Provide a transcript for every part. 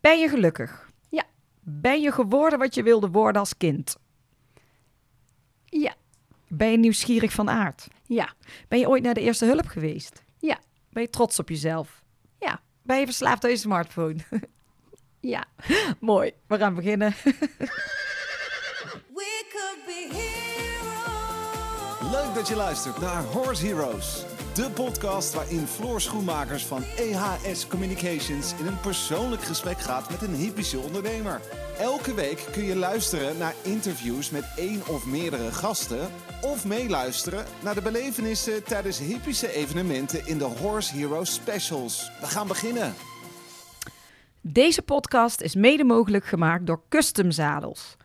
Ben je gelukkig? Ja. Ben je geworden wat je wilde worden als kind? Ja. Ben je nieuwsgierig van aard? Ja. Ben je ooit naar de eerste hulp geweest? Ja. Ben je trots op jezelf? Ja. Ben je verslaafd aan je smartphone? Ja. Mooi, we gaan beginnen. We could be heroes. Leuk dat je luistert naar Horse Heroes, de podcast waarin Floor Schoenmakers van EHS Communications in een persoonlijk gesprek gaat met een hypische ondernemer. Elke week kun je luisteren naar interviews met één of meerdere gasten of meeluisteren naar de belevenissen tijdens hypische evenementen in de Horse Heroes Specials. We gaan beginnen. Deze podcast is mede mogelijk gemaakt door Custom Zadels.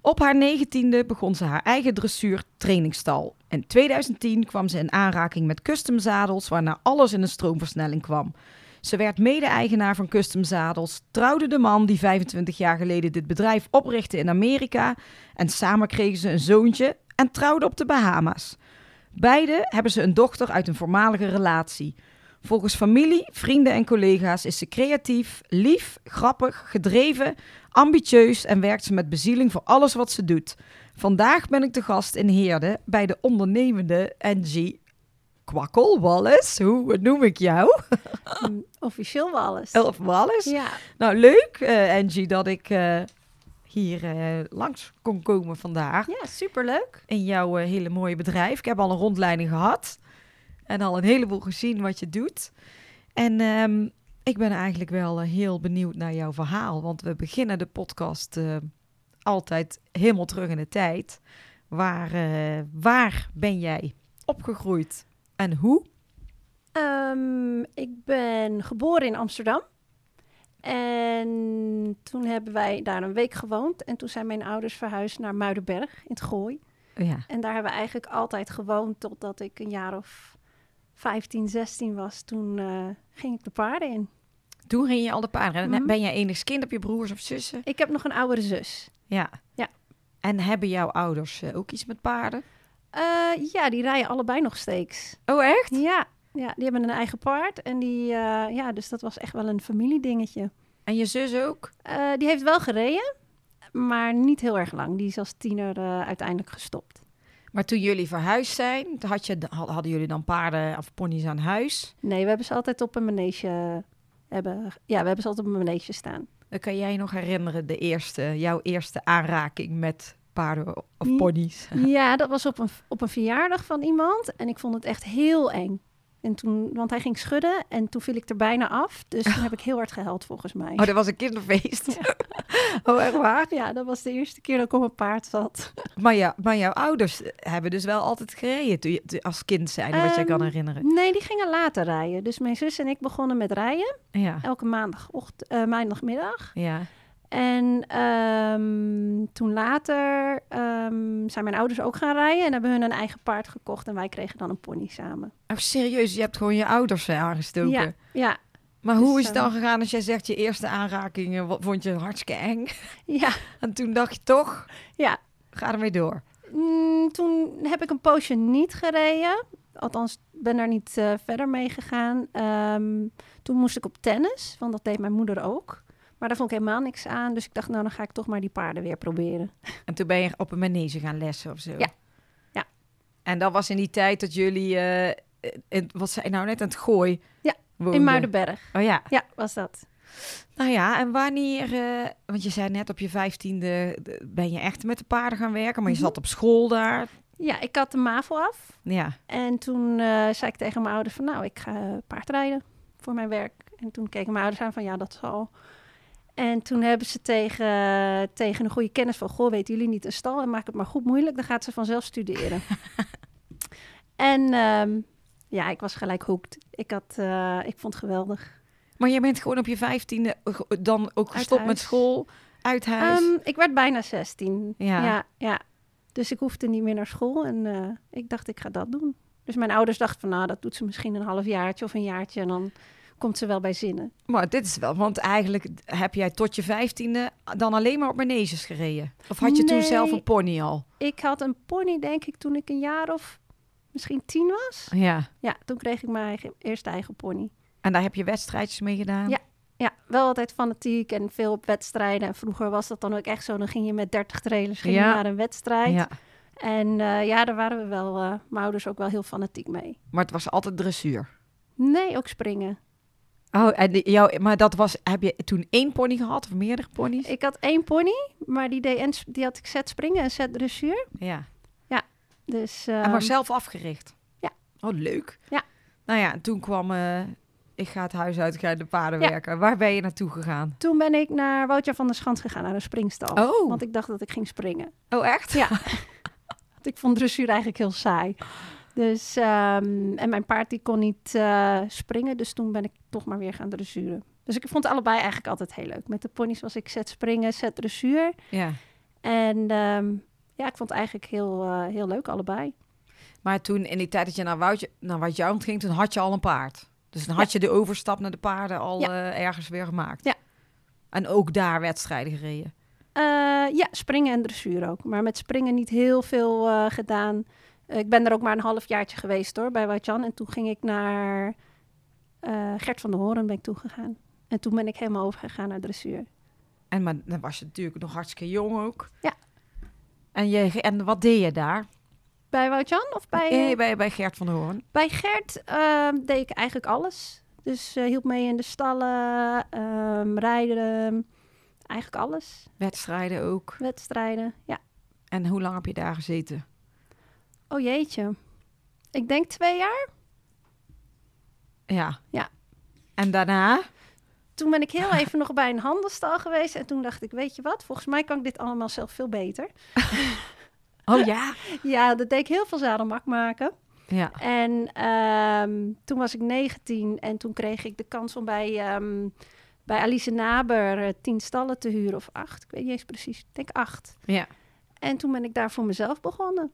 Op haar negentiende begon ze haar eigen dressuur trainingstal. In 2010 kwam ze in aanraking met Custom Zadels, waarna alles in een stroomversnelling kwam. Ze werd mede-eigenaar van Custom Zadels, trouwde de man die 25 jaar geleden dit bedrijf oprichtte in Amerika en samen kregen ze een zoontje en trouwden op de Bahama's. Beide hebben ze een dochter uit een voormalige relatie. Volgens familie, vrienden en collega's is ze creatief, lief, grappig, gedreven, ambitieus en werkt ze met bezieling voor alles wat ze doet. Vandaag ben ik de gast in Heerde bij de ondernemende Angie Kwakkel Wallace. Hoe noem ik jou? Mm, Officieel wel alles. Elf Wallace. Ja. Nou, leuk eh, Angie dat ik eh, hier eh, langs kon komen vandaag Ja, superleuk. in jouw eh, hele mooie bedrijf. Ik heb al een rondleiding gehad en al een heleboel gezien wat je doet. En ehm, ik ben eigenlijk wel eh, heel benieuwd naar jouw verhaal, want we beginnen de podcast eh, altijd helemaal terug in de tijd. Waar, eh, waar ben jij opgegroeid en hoe? Ehm, ik ben geboren in Amsterdam. En toen hebben wij daar een week gewoond. En toen zijn mijn ouders verhuisd naar Muidenberg in het Gooi. Oh Ja, En daar hebben we eigenlijk altijd gewoond totdat ik een jaar of 15, 16 was. Toen eh, ging ik de paarden in. toen ging je al de paarden. Mhm. Ben jij enigszins kind? Heb je broers of zussen? Ik heb nog een oudere zus. Ja. Ja. En hebben jouw ouders eh, ook iets met paarden? Eh, ja, die rijden allebei nog steeds. Oh, echt? Ja, ja, die hebben een eigen paard. En die, eh, ja, dus dat was echt wel een familiedingetje. En je zus ook? Eh, die heeft wel gereden, maar niet heel erg lang. Die is als tiener eh, uiteindelijk gestopt. Maar toen jullie verhuisd zijn, had je, had- hadden jullie dan paarden of pony's aan huis? Nee, we hebben ze altijd op een manege hebben. Ja, we hebben ze altijd op een manege staan. Dan kan jij je nog herinneren de eerste, jouw eerste aanraking met paarden of Hm. pony's? Ja, dat was op een, op een verjaardag van iemand. En ik vond het echt heel eng. En toen, want hij ging schudden en toen viel ik er bijna af. Dus toen heb ik heel hard gehuild volgens mij. Oh, dat was een kinderfeest. oh, echt waar? Ja, dat was de eerste keer dat ik op een paard zat. Maar, ja, maar jouw ouders hebben dus wel altijd gereden toen je, toen- als kind zijn, wat jij kan Ehm, herinneren. Nee, die gingen later rijden. Dus mijn zus en ik begonnen met rijden. Ja, Elke maandagochtend, eh, maandagmiddag. ja. En ehm, toen later ehm, zijn mijn ouders ook gaan rijden en hebben hun een eigen paard gekocht en wij kregen dan een pony samen. Oh, serieus, je hebt gewoon je ouders eh, aangestoken. Ja, ja, Maar hoe Dus, is het dan ehm, gegaan als jij zegt je eerste aanrakingen wa- vond je hartstikke eng? ja, En toen dacht je toch, ja. ga ermee door. Mm, toen heb ik een poosje niet gereden, althans ben daar niet eh, verder mee gegaan. Ehm, toen moest ik op tennis, want dat deed mijn moeder ook. Maar daar vond ik helemaal niks aan, dus ik dacht nou dan ga ik toch maar die paarden weer proberen. En toen ben je op een manege gaan lessen of zo. Ja. Ja. En dat was in die tijd dat jullie, eh, in, wat zei je nou net, aan het gooi Ja, woonden. In Muidenberg, Oh ja. ja, was dat. Nou ja, en wanneer, eh, want je zei net op je vijftiende eh, ben je echt met de paarden gaan werken, maar je Mhm. zat op school daar. Ja, ik had de MAVO af. Ja. En toen eh, zei ik tegen mijn ouders van nou, ik ga eh, paardrijden voor mijn werk. En toen keken mijn ouders aan van ja, dat zal. En toen hebben ze tegen, tegen een goede kennis van... Goh, weten jullie niet een stal en maak het maar goed moeilijk. Dan gaat ze vanzelf studeren. en ehm, ja, ik was gelijk hooked. Ik, had, eh, ik vond het geweldig. Maar jij bent gewoon op je vijftiende eh, dan ook gestopt met huis. school, uit huis. Ehm, ik werd bijna 16. Ja. ja, ja. Dus ik hoefde niet meer naar school. En eh, ik dacht, ik ga dat doen. Dus mijn ouders dachten van, nou, dat doet ze misschien een half jaartje of een jaartje. En dan komt ze wel bij zinnen. Maar dit is wel, want eigenlijk heb jij tot je vijftiende dan alleen maar op maneges gereden. Of had je toen Nee. zelf een pony al? Ik had een pony, denk ik, toen ik een jaar of misschien tien was. Ja. Ja, toen kreeg ik mijn eigen, eerste eigen pony. En daar heb je wedstrijdjes mee gedaan? Ja. Ja, wel altijd fanatiek en veel op wedstrijden. En vroeger was dat dan ook echt zo. Dan ging je met 30 trailers ging je Ja. naar een wedstrijd. Ja. En eh, ja, daar waren we wel, eh, mijn ouders ook wel heel fanatiek mee. Maar het was altijd dressuur. Nee, ook springen. Oh, en die- jou, maar dat was, heb je toen één pony gehad of meerdere ponies? Ik had één pony, maar die, deed en, sp- die had ik zet springen en zet dressuur. Ja. Dus, En Ah, maar ehm, zelf afgericht? ja. Oh, leuk. Ja. Nou ja, en toen kwam, eh, ik ga het huis uit, ik ga in de paarden werken. Waar ben je naartoe gegaan? Toen ben ik naar Woutja van der Schans gegaan, naar een springstal. Oh, Want ik dacht dat ik ging springen. oh echt? Ja. Want ik vond dressuur eigenlijk heel saai. Dus, ehm, en mijn paard die kon niet eh, springen, dus toen ben ik toch maar weer gaan dressuren. Dus ik vond allebei eigenlijk altijd heel leuk. Met de ponies was ik zet springen, zet dressuur. ja. En ehm, ja, ik vond het eigenlijk heel, eh, heel leuk allebei. Maar toen, in die tijd dat je naar Woutje, naar Woutjouwend ging, toen had je al een paard. Dus dan had je de overstap naar de paarden al Ja. eh, ergens weer gemaakt. Ja. En ook daar wedstrijden gereden. Eh, ja, springen en dressuur ook. Maar met springen niet heel veel eh, gedaan. Eh, ik ben er ook maar een halfjaartje geweest hoor, bij Wajan. En toen ging ik naar eh, Gert van der Hoorn ben ik toegegaan. En toen ben ik helemaal overgegaan naar dressuur. En maar dan was je natuurlijk nog hartstikke jong ook. Ja. En, je, en wat deed je daar? Bij Woutjan of bij... Eh, bij, bij Gert van der Hoorn. Bij Gert ehm, deed ik eigenlijk alles. Dus eh, hielp mee in de stallen, ehm, rijden, eigenlijk alles. Wedstrijden ook. Wedstrijden, ja. En hoe lang heb je daar gezeten? Oh jeetje. Ik denk twee jaar. Ja. Ja. En daarna? Toen ben ik heel even nog bij een handelstal geweest. En toen dacht ik, weet je wat, volgens mij kan ik dit allemaal zelf veel beter. Oh ja. Ja, dat deed ik heel veel zadelmak maken. Ja. En ehm, toen was ik 19 en toen kreeg ik de kans om bij, ehm, bij Alice Naber eh, tien stallen te huren. Of acht, ik weet niet eens precies. Ik denk acht. ja. En toen ben ik daar voor mezelf begonnen.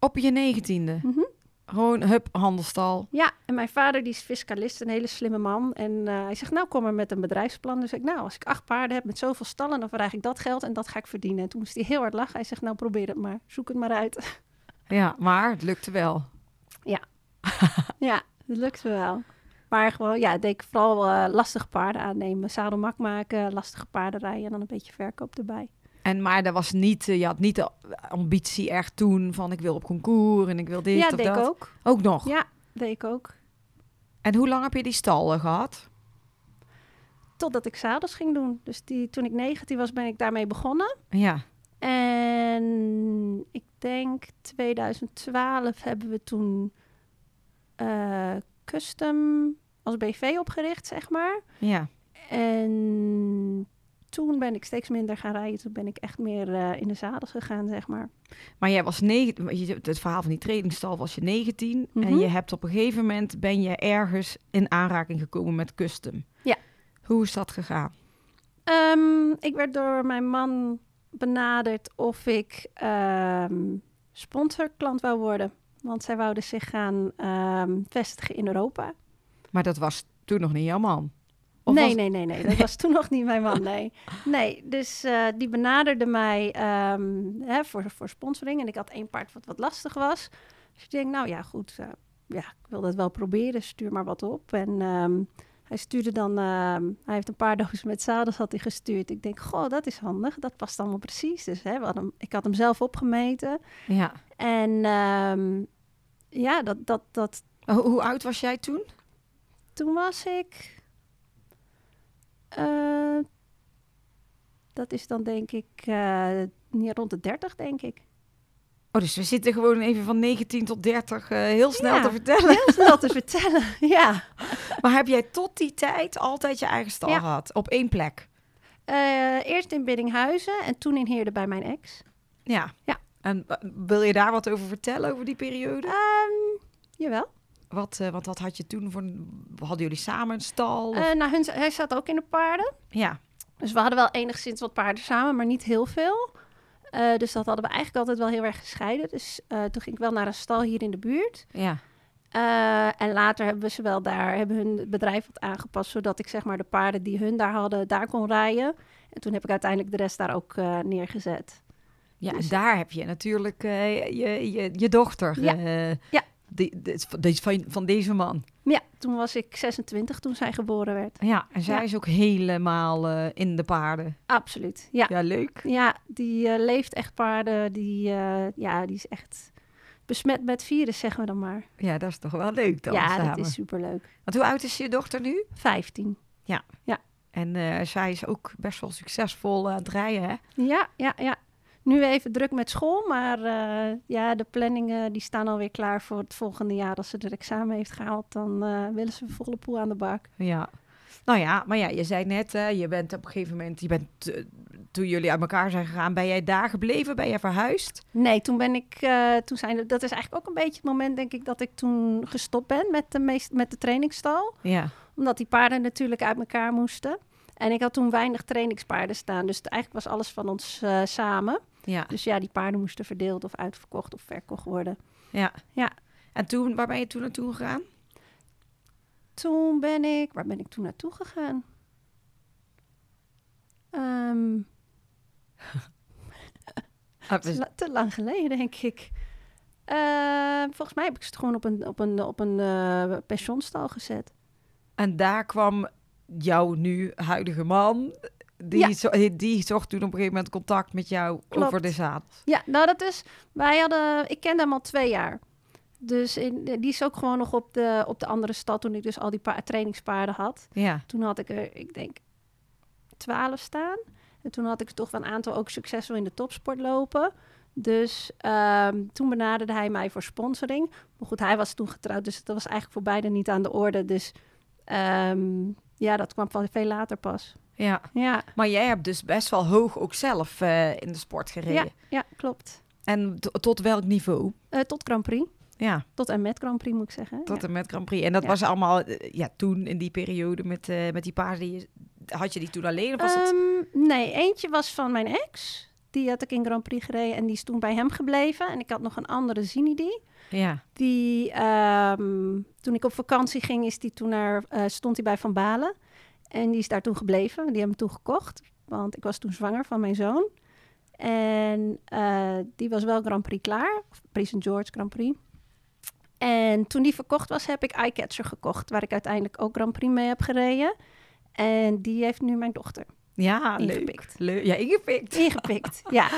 Op je negentiende. Mhm. Gewoon, hup, handelstal. Ja, en mijn vader die is fiscalist, een hele slimme man. En eh, hij zegt, nou kom maar met een bedrijfsplan. Dus ik, nou, als ik acht paarden heb met zoveel stallen, dan verrijg ik dat geld en dat ga ik verdienen. En toen moest hij heel hard lachen. Hij zegt, nou probeer het maar, zoek het maar uit. Ja, maar het lukte wel. ja, dat lukte wel. Maar gewoon, ja, deed ik vooral eh, lastige paarden aannemen. Zadelmak maken, lastige paarden rijden en dan een beetje verkoop erbij. En maar dat was niet, eh, je had niet de ambitie echt toen van ik wil op concours en ik wil dit ja, of deed ik dat. ook. Ook nog. Ja, deed ik ook. En hoe lang heb je die stallen gehad? Totdat ik zadels ging doen. Dus die, toen ik 19 was, ben ik daarmee begonnen. Ja. En ik denk 2012 hebben we toen eh, Custom als BV opgericht, zeg maar. Ja. En toen ben ik steeds minder gaan rijden. Toen ben ik echt meer eh, in de zadels gegaan, zeg maar. Maar jij was negen, het verhaal van die trainingstal was je 19 en Mhm. je hebt op een gegeven moment ben je ergens in aanraking gekomen met custom. Ja. Hoe is dat gegaan? Ehm, ik werd door mijn man benaderd of ik ehm, sponsorklant wou worden. Want zij wouden zich gaan ehm, vestigen in Europa. Maar dat was toen nog niet jouw man. nee, was- nee, nee, nee. Dat was toen nog niet mijn man, nee. Nee, dus eh, die benaderde mij ehm, hè, voor, voor sponsoring. En ik had één paard wat wat lastig was. Dus ik denk, nou ja, goed. eh, ja, ik wil dat wel proberen. Stuur maar wat op. En ehm, hij stuurde dan... ehm, hij heeft een paar dozen met zadels had hij gestuurd. Ik denk, goh, dat is handig. Dat past allemaal precies. Dus hè, we hadden hem- ik had hem zelf opgemeten. Ja. En ehm, ja, dat, dat, dat, Hoe, hoe oud was jij toen? toen was ik. eh, dat is dan denk ik eh, ja, rond de 30, denk ik. Oh, dus we zitten gewoon even van 19 tot 30 eh, heel snel Ja. te vertellen. Heel snel te vertellen. Ja. Maar heb jij tot die tijd altijd je eigen stal Ja. gehad? Op één plek? Eh, eerst in Biddinghuizen en toen in Heerde bij mijn ex. Ja. Ja. En eh, wil je daar wat over vertellen, over die periode? Ehm, jawel. Wel. Wat, eh, want wat had je toen voor... een- Hadden jullie samen een stal? of- nou, hun, hij zat ook in de paarden. ja. Dus we hadden wel enigszins wat paarden samen, maar niet heel veel. Eh, dus dat hadden we eigenlijk altijd wel heel erg gescheiden. Dus eh, toen ging ik wel naar een stal hier in de buurt. ja. Eh, en later hebben we ze wel daar, hebben hun bedrijf wat aangepast, zodat ik zeg maar de paarden die hun daar hadden, daar kon rijden. En toen heb ik uiteindelijk de rest daar ook eh, neergezet. Ja, en Dus- daar heb je natuurlijk eh, je, je, je dochter. Ja. eh, Ja. Die, dit- van deze- van, van deze man. Ja, Toen was ik 26 toen zij geboren werd. Ja, en zij Ja. is ook helemaal eh, in de paarden. Absoluut, ja. Ja, leuk. Ja, die eh, leeft echt paarden. Die, eh, ja, die is echt besmet met virus, zeggen we dan maar. Ja, dat is toch wel leuk dan ja, samen. dat is superleuk. Want hoe oud is je dochter nu? 15. En eh, zij is ook best wel succesvol eh, aan het rijden, hè? Ja, ja, ja. Nu even druk met school, maar eh, ja, de planningen eh, die staan alweer klaar voor het volgende jaar. Als ze er examen heeft gehaald, dan eh, willen ze volle poel aan de bak. Ja. Nou ja, maar ja, je zei net, hè, je bent op een gegeven moment, je bent, eh, toen jullie uit elkaar zijn gegaan, ben jij daar gebleven? Ben jij verhuisd? Nee, toen ben ik, eh, toen zijn, dat is eigenlijk ook een beetje het moment, denk ik, dat ik toen gestopt ben met de, meest, met de trainingsstal. Ja. Omdat die paarden natuurlijk uit elkaar moesten. En ik had toen weinig trainingspaarden staan. Dus het- eigenlijk was alles van ons eh, samen. Ja. Dus ja, die paarden moesten verdeeld of uitverkocht of verkocht worden. ja. Ja. En toen, waar ben je toen naartoe gegaan? Toen ben ik... Waar ben ik toen naartoe gegaan? Ehm, Ah, te, dus- la- te lang geleden, denk ik. Ehm, volgens mij heb ik ze gewoon op een, op een, op een eh, pensionstal gezet. En daar kwam jouw nu huidige man, die, Ja. zo- die zocht toen op een gegeven moment contact met jou Klopt. over de zadels. Ja, nou dat is. Wij hadden. Ik kende hem al twee jaar. Dus in, die is ook gewoon nog op de, op de andere stad toen ik dus al die pa- trainingspaarden had. Ja. Toen had ik er, ik denk, twaalf staan. En toen had ik er toch wel een aantal ook succesvol in de topsport lopen. Dus ehm, toen benaderde hij mij voor sponsoring. Maar goed, hij was toen getrouwd, dus dat was eigenlijk voor beide niet aan de orde. Dus ehm, ja, dat kwam van veel later pas. ja. Ja, Maar jij hebt dus best wel hoog ook zelf eh, in de sport gereden. ja, ja klopt. En to- tot welk niveau? Eh, tot Grand Prix. Ja, Tot en met Grand Prix moet ik zeggen. tot Ja. en met Grand Prix. En dat Ja. was allemaal, eh, ja, toen in die periode met, eh, met die paarden, die je- had je die toen alleen of was dat... Ehm, nee, eentje was van mijn ex. Die had ik in Grand Prix gereden en die is toen bij hem gebleven. En ik had nog een andere Zinidi. Ja, Die, ehm, toen ik op vakantie ging, is die toen naar, eh, stond hij bij Van Balen. En die is daar toen gebleven. Die hebben hem toen gekocht, want ik was toen zwanger van mijn zoon. En eh, die was wel Grand Prix klaar. Of Prins George Grand Prix. En toen die verkocht was, heb ik Eyecatcher gekocht. Waar ik uiteindelijk ook Grand Prix mee heb gereden. En die heeft nu mijn dochter ja leuk. Ingepikt. leuk. Ja, ingepikt. ingepikt. ja,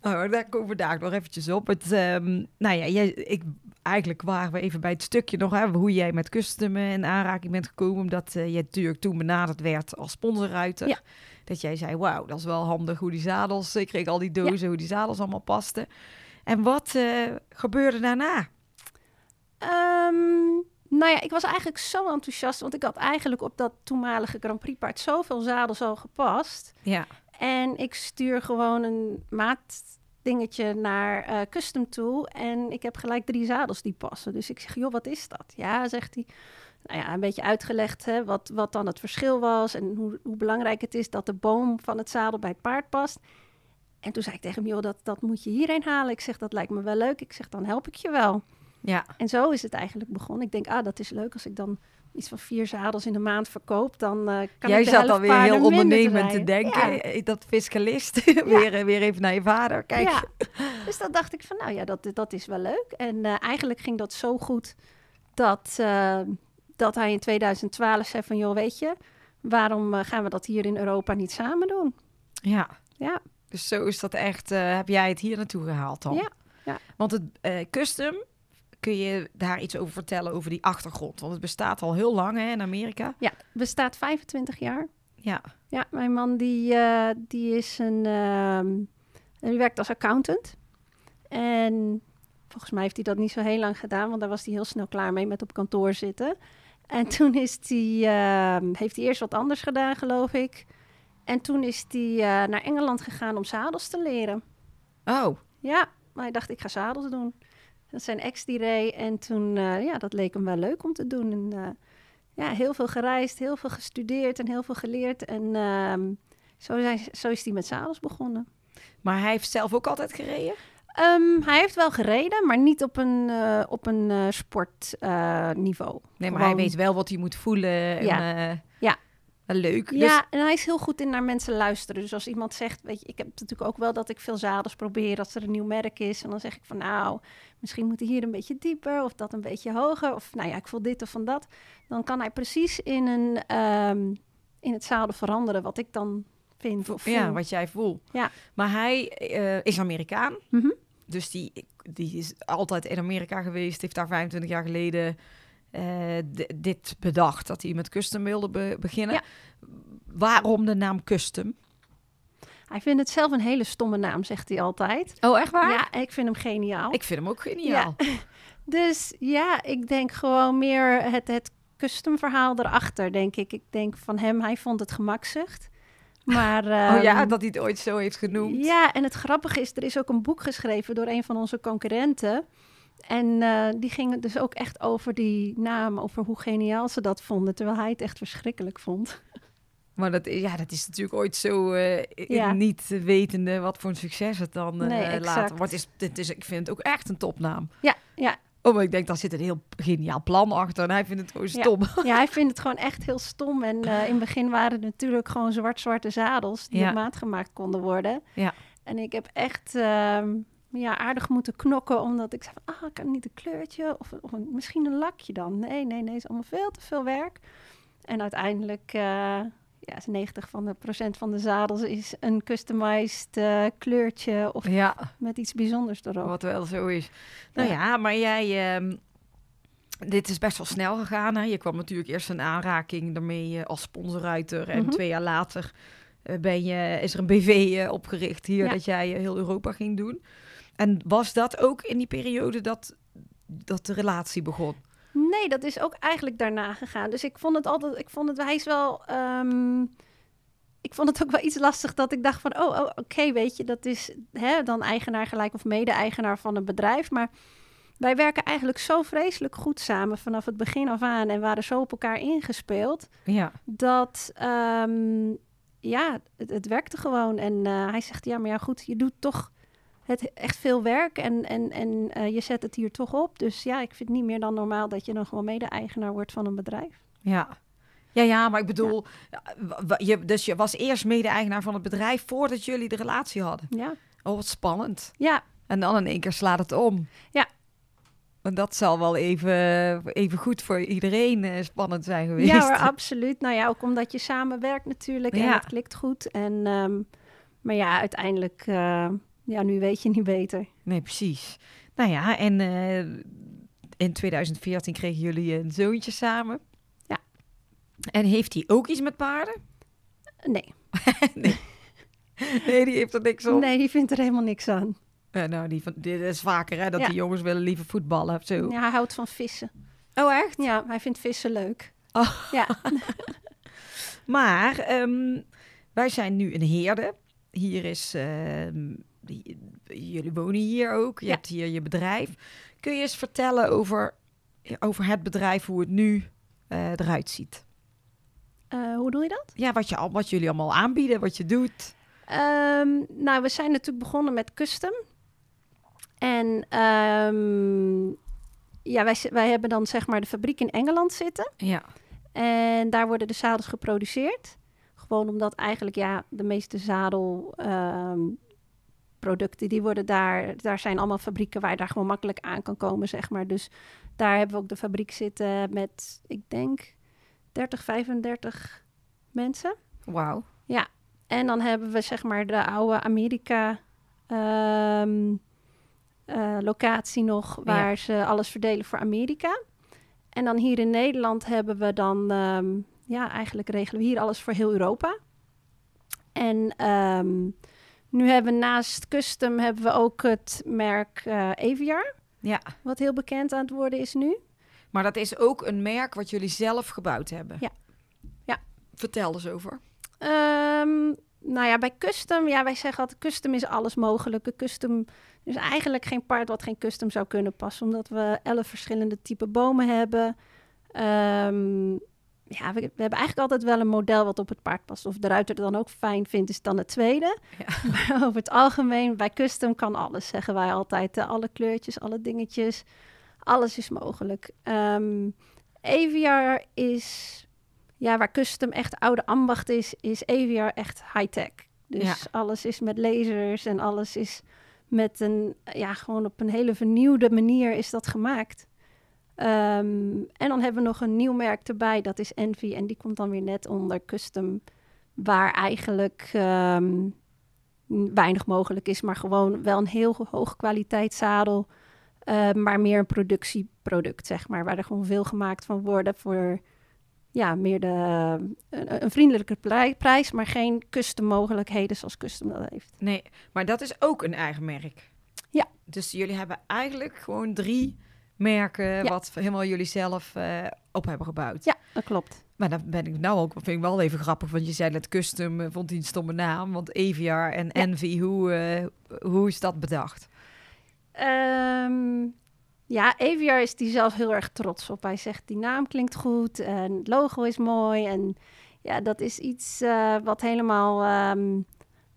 Nou, daar komen we daar nog eventjes op. Het, ehm, nou ja, jij, ik, eigenlijk waren we even bij het stukje nog, hè, hoe jij met Custom eh, in aanraking bent gekomen. Omdat eh, jij natuurlijk toen benaderd werd als sponsorruiter. Ja. Dat jij zei, wauw, dat is wel handig hoe die zadels... Ik kreeg al die dozen, hoe die zadels allemaal pasten. En wat eh, gebeurde daarna? Ehm, nou ja, ik was eigenlijk zo enthousiast, want ik had eigenlijk op dat toenmalige Grand Prix paard zoveel zadels al gepast. Ja, En ik stuur gewoon een maatdingetje naar eh, Custom toe en ik heb gelijk drie zadels die passen. Dus ik zeg, joh, wat is dat? Ja, zegt hij. Nou ja, een beetje uitgelegd hè, wat, wat dan het verschil was en hoe, hoe belangrijk het is dat de boom van het zadel bij het paard past. En toen zei ik tegen hem, joh, dat, dat moet je hierheen halen. Ik zeg, dat lijkt me wel leuk. Ik zeg, dan help ik je wel. ja, En zo is het eigenlijk begonnen. Ik denk, ah, dat is leuk. Als ik dan iets van vier zadels in de maand verkoop, dan eh kan Jij ik de zat helft alweer paarden heel minder ondernemend te draaien. denken. Ja, Eh, Dat fiscalist. weer, eh, weer even naar je vader. Kijk. ja. Dus dat dacht ik van, nou ja, dat, dat is wel leuk. En eh, eigenlijk ging dat zo goed dat, eh, dat hij in 2012 zei van, joh, weet je, waarom eh, gaan we dat hier in Europa niet samen doen? Ja. Ja. Dus zo is dat echt. eh, heb jij het hier naartoe gehaald dan? Ja, ja. Want het eh, custom, kun je daar iets over vertellen over die achtergrond? Want het bestaat al heel lang hè, in Amerika. Ja, bestaat 25 jaar. Ja. Ja, mijn man die, eh, die is een... ehm, die werkt als accountant. En volgens mij heeft hij dat niet zo heel lang gedaan, want daar was hij heel snel klaar mee met op kantoor zitten. En toen is die, ehm, heeft hij eerst wat anders gedaan, geloof ik. En toen is hij eh, naar Engeland gegaan om zadels te leren. Oh, Ja, maar hij dacht, ik ga zadels doen. Dat zijn ex die reed. En toen, eh, ja, dat leek hem wel leuk om te doen. En, eh, ja, heel veel gereisd, heel veel gestudeerd en heel veel geleerd. En ehm, zo, zijn, zo is hij met zadels begonnen. maar hij heeft zelf ook altijd gereden? Ehm, hij heeft wel gereden, maar niet op een, eh, op een sportniveau. Nee, maar hij Gewoon- weet wel wat hij moet voelen. En, Ja. eh, Ja. Wel leuk. Dus, Ja, en hij is heel goed in naar mensen luisteren. Dus als iemand zegt, weet je, ik heb natuurlijk ook wel dat ik veel zadels probeer als er een nieuw merk is. En dan zeg ik van nou, misschien moet hij hier een beetje dieper of dat een beetje hoger. Of nou ja, ik voel dit of van dat. Dan kan hij precies in, een, ehm, in het zadel veranderen wat ik dan vind of voel. ja, Dus wat jij voelt. Ja. Maar hij eh, is Amerikaan. Mhm. Dus die, die is altijd in Amerika geweest. Heeft daar 25 jaar geleden eh, d- dit bedacht. Dat hij met custom wilde be- beginnen. Ja. Waarom de naam custom? Hij vindt het zelf een hele stomme naam, zegt hij altijd. Oh, echt Ja, ik vind hem geniaal. Ik vind hem ook geniaal. Dus ja, ik denk gewoon meer het, het custom verhaal erachter, denk ik. Ik denk van hem, hij vond het gemakzucht. Maar, oh ja, ehm, dat hij het ooit zo heeft genoemd. Ja, en het grappige is, er is ook een boek geschreven door een van onze concurrenten. En eh, die ging het dus ook echt over die naam, over hoe geniaal ze dat vonden. Terwijl hij het echt verschrikkelijk vond. Maar dat, ja, dat is natuurlijk ooit zo eh, i- Ja. niet wetende wat voor een succes het dan eh, Nee, exact. later wordt. Is, dit is, ik vind het ook echt een topnaam. Ja, ja, Oh, maar ik denk, daar zit een heel geniaal plan achter. En hij vindt het gewoon Ja. stom. ja, hij vindt het gewoon echt heel stom. En eh, in het begin waren het natuurlijk gewoon zwart-zwarte zadels die Ja. op maat gemaakt konden worden. Ja. En ik heb echt ehm, ja, aardig moeten knokken, omdat ik zei van, ah, ik heb niet een kleurtje of, of een- misschien een lakje dan. Nee, nee, nee, is allemaal veel te veel werk. En uiteindelijk, eh, ja, is 90 van de procent van de zadels is een customized eh, kleurtje of Ja. met iets bijzonders erop. Wat wel zo is. Nou Ja. ja, maar jij. ehm, dit is best wel snel gegaan. Hè? Je kwam natuurlijk eerst een aanraking daarmee eh, als sponsorruiter. En Mhm. twee jaar later eh, ben je, is er een BV eh, opgericht hier Ja. dat jij eh, heel Europa ging doen. En was dat ook in die periode dat, dat de relatie begon? Nee, dat is ook eigenlijk daarna gegaan. Dus ik vond het altijd, ik vond het, hij is wel, ehm, ik vond het ook wel iets lastig dat ik dacht van, oh, oh oké, weet je, dat is hè, dan eigenaar gelijk of mede-eigenaar van een bedrijf. Maar wij werken eigenlijk zo vreselijk goed samen vanaf het begin af aan en waren zo op elkaar ingespeeld Ja. dat, ehm, ja, het, het werkte gewoon. En eh, hij zegt, ja, maar ja, goed, je doet toch het echt veel werk en, en, en eh, je zet het hier toch op. Dus ja, ik vind het niet meer dan normaal dat je dan gewoon mede-eigenaar wordt van een bedrijf. Ja. Ja, ja, maar ik bedoel, ja, w- w- je, dus je was eerst mede-eigenaar van het bedrijf voordat jullie de relatie hadden. Ja, Oh, wat spannend. ja, En dan in één keer slaat het om. Ja. Want dat zal wel even, even goed voor iedereen eh, spannend zijn geweest. ja hoor, absoluut. Nou ja, ook omdat je samen werkt natuurlijk en Ja. het klikt goed. En, ehm, maar ja, uiteindelijk, eh, ja, nu weet je niet beter. Nee, precies. Nou ja, en eh, in 2014 kregen jullie een zoontje samen. Ja. En heeft hij ook iets met paarden? Nee, Nee, die heeft er niks op. nee, die vindt er helemaal niks aan. Eh, nou, die van, dit is vaker hè, dat Ja. die jongens willen liever voetballen of zo. Ja, hij houdt van vissen. Oh, echt? Ja, hij vindt vissen leuk. Oh. Ja, Maar ehm, wij zijn nu een heerde. Hier is. ehm, j- jullie wonen hier ook. Je Ja. hebt hier je bedrijf. Kun je eens vertellen over, over het bedrijf, hoe het nu eh, eruit ziet? Eh, hoe doe je dat? Ja, wat, je, al- wat jullie allemaal aanbieden, wat je doet. Ehm, nou, we zijn natuurlijk begonnen met custom. En ehm, ja, wij, zi- wij hebben dan zeg maar de fabriek in Engeland zitten. Ja. En daar worden de zadels geproduceerd. Gewoon omdat eigenlijk ja, de meeste zadelproducten, producten die worden daar... Daar zijn allemaal fabrieken waar je daar gewoon makkelijk aan kan komen, zeg maar. Dus daar hebben we ook de fabriek zitten met, ik denk, 30, 35 mensen. Wauw. En dan hebben we zeg maar de oude Amerika ehm, eh, locatie nog, waar ze alles verdelen voor Amerika. En dan hier in Nederland hebben we dan, ehm, ja, eigenlijk regelen we hier alles voor heel Europa. En ehm, nu hebben we naast Custom hebben we ook het merk eh Aviar, Ja. wat heel bekend aan het worden is nu. Maar dat is ook een merk wat jullie zelf gebouwd hebben. Ja. Ja. Vertel eens over. Ehm, nou ja, bij custom, ja, wij zeggen altijd custom is alles mogelijke. Custom er is eigenlijk geen paard wat geen custom zou kunnen passen, omdat we elf verschillende type bomen hebben. Ehm, ja, we, we hebben eigenlijk altijd wel een model wat op het paard past. Of de ruiter het dan ook fijn vindt, is dan het tweede. Maar over het algemeen, bij custom kan alles, zeggen wij altijd. hè. Alle kleurtjes, alle dingetjes, alles is mogelijk. Ehm Aviar is Ja, waar custom echt oude ambacht is, is AVR echt high-tech. Dus Ja. alles is met lasers en alles is met een, ja, gewoon op een hele vernieuwde manier is dat gemaakt. Ehm, en dan hebben we nog een nieuw merk erbij, dat is Envy. En die komt dan weer net onder custom, waar eigenlijk ehm, weinig mogelijk is, maar gewoon wel een heel hoog kwaliteit zadel. eh, maar meer een productieproduct, zeg maar, waar er gewoon veel gemaakt van worden voor ja, meer de, een, een vriendelijke plei- prijs, maar geen custom mogelijkheden zoals custom dat heeft. Nee, maar dat is ook een eigen merk. Ja. Dus jullie hebben eigenlijk gewoon drie merken wat helemaal jullie zelf eh, op hebben gebouwd. Ja, dat klopt. Maar dan ben ik nou ook, vind ik wel even grappig, want je zei net custom, eh, vond die een stomme naam, want EVR en Envy, hoe, eh, hoe is dat bedacht? Ehm, ja, AVR is die zelf heel erg trots op. Hij zegt, die naam klinkt goed en het logo is mooi. En ja, dat is iets eh, wat, helemaal, ehm,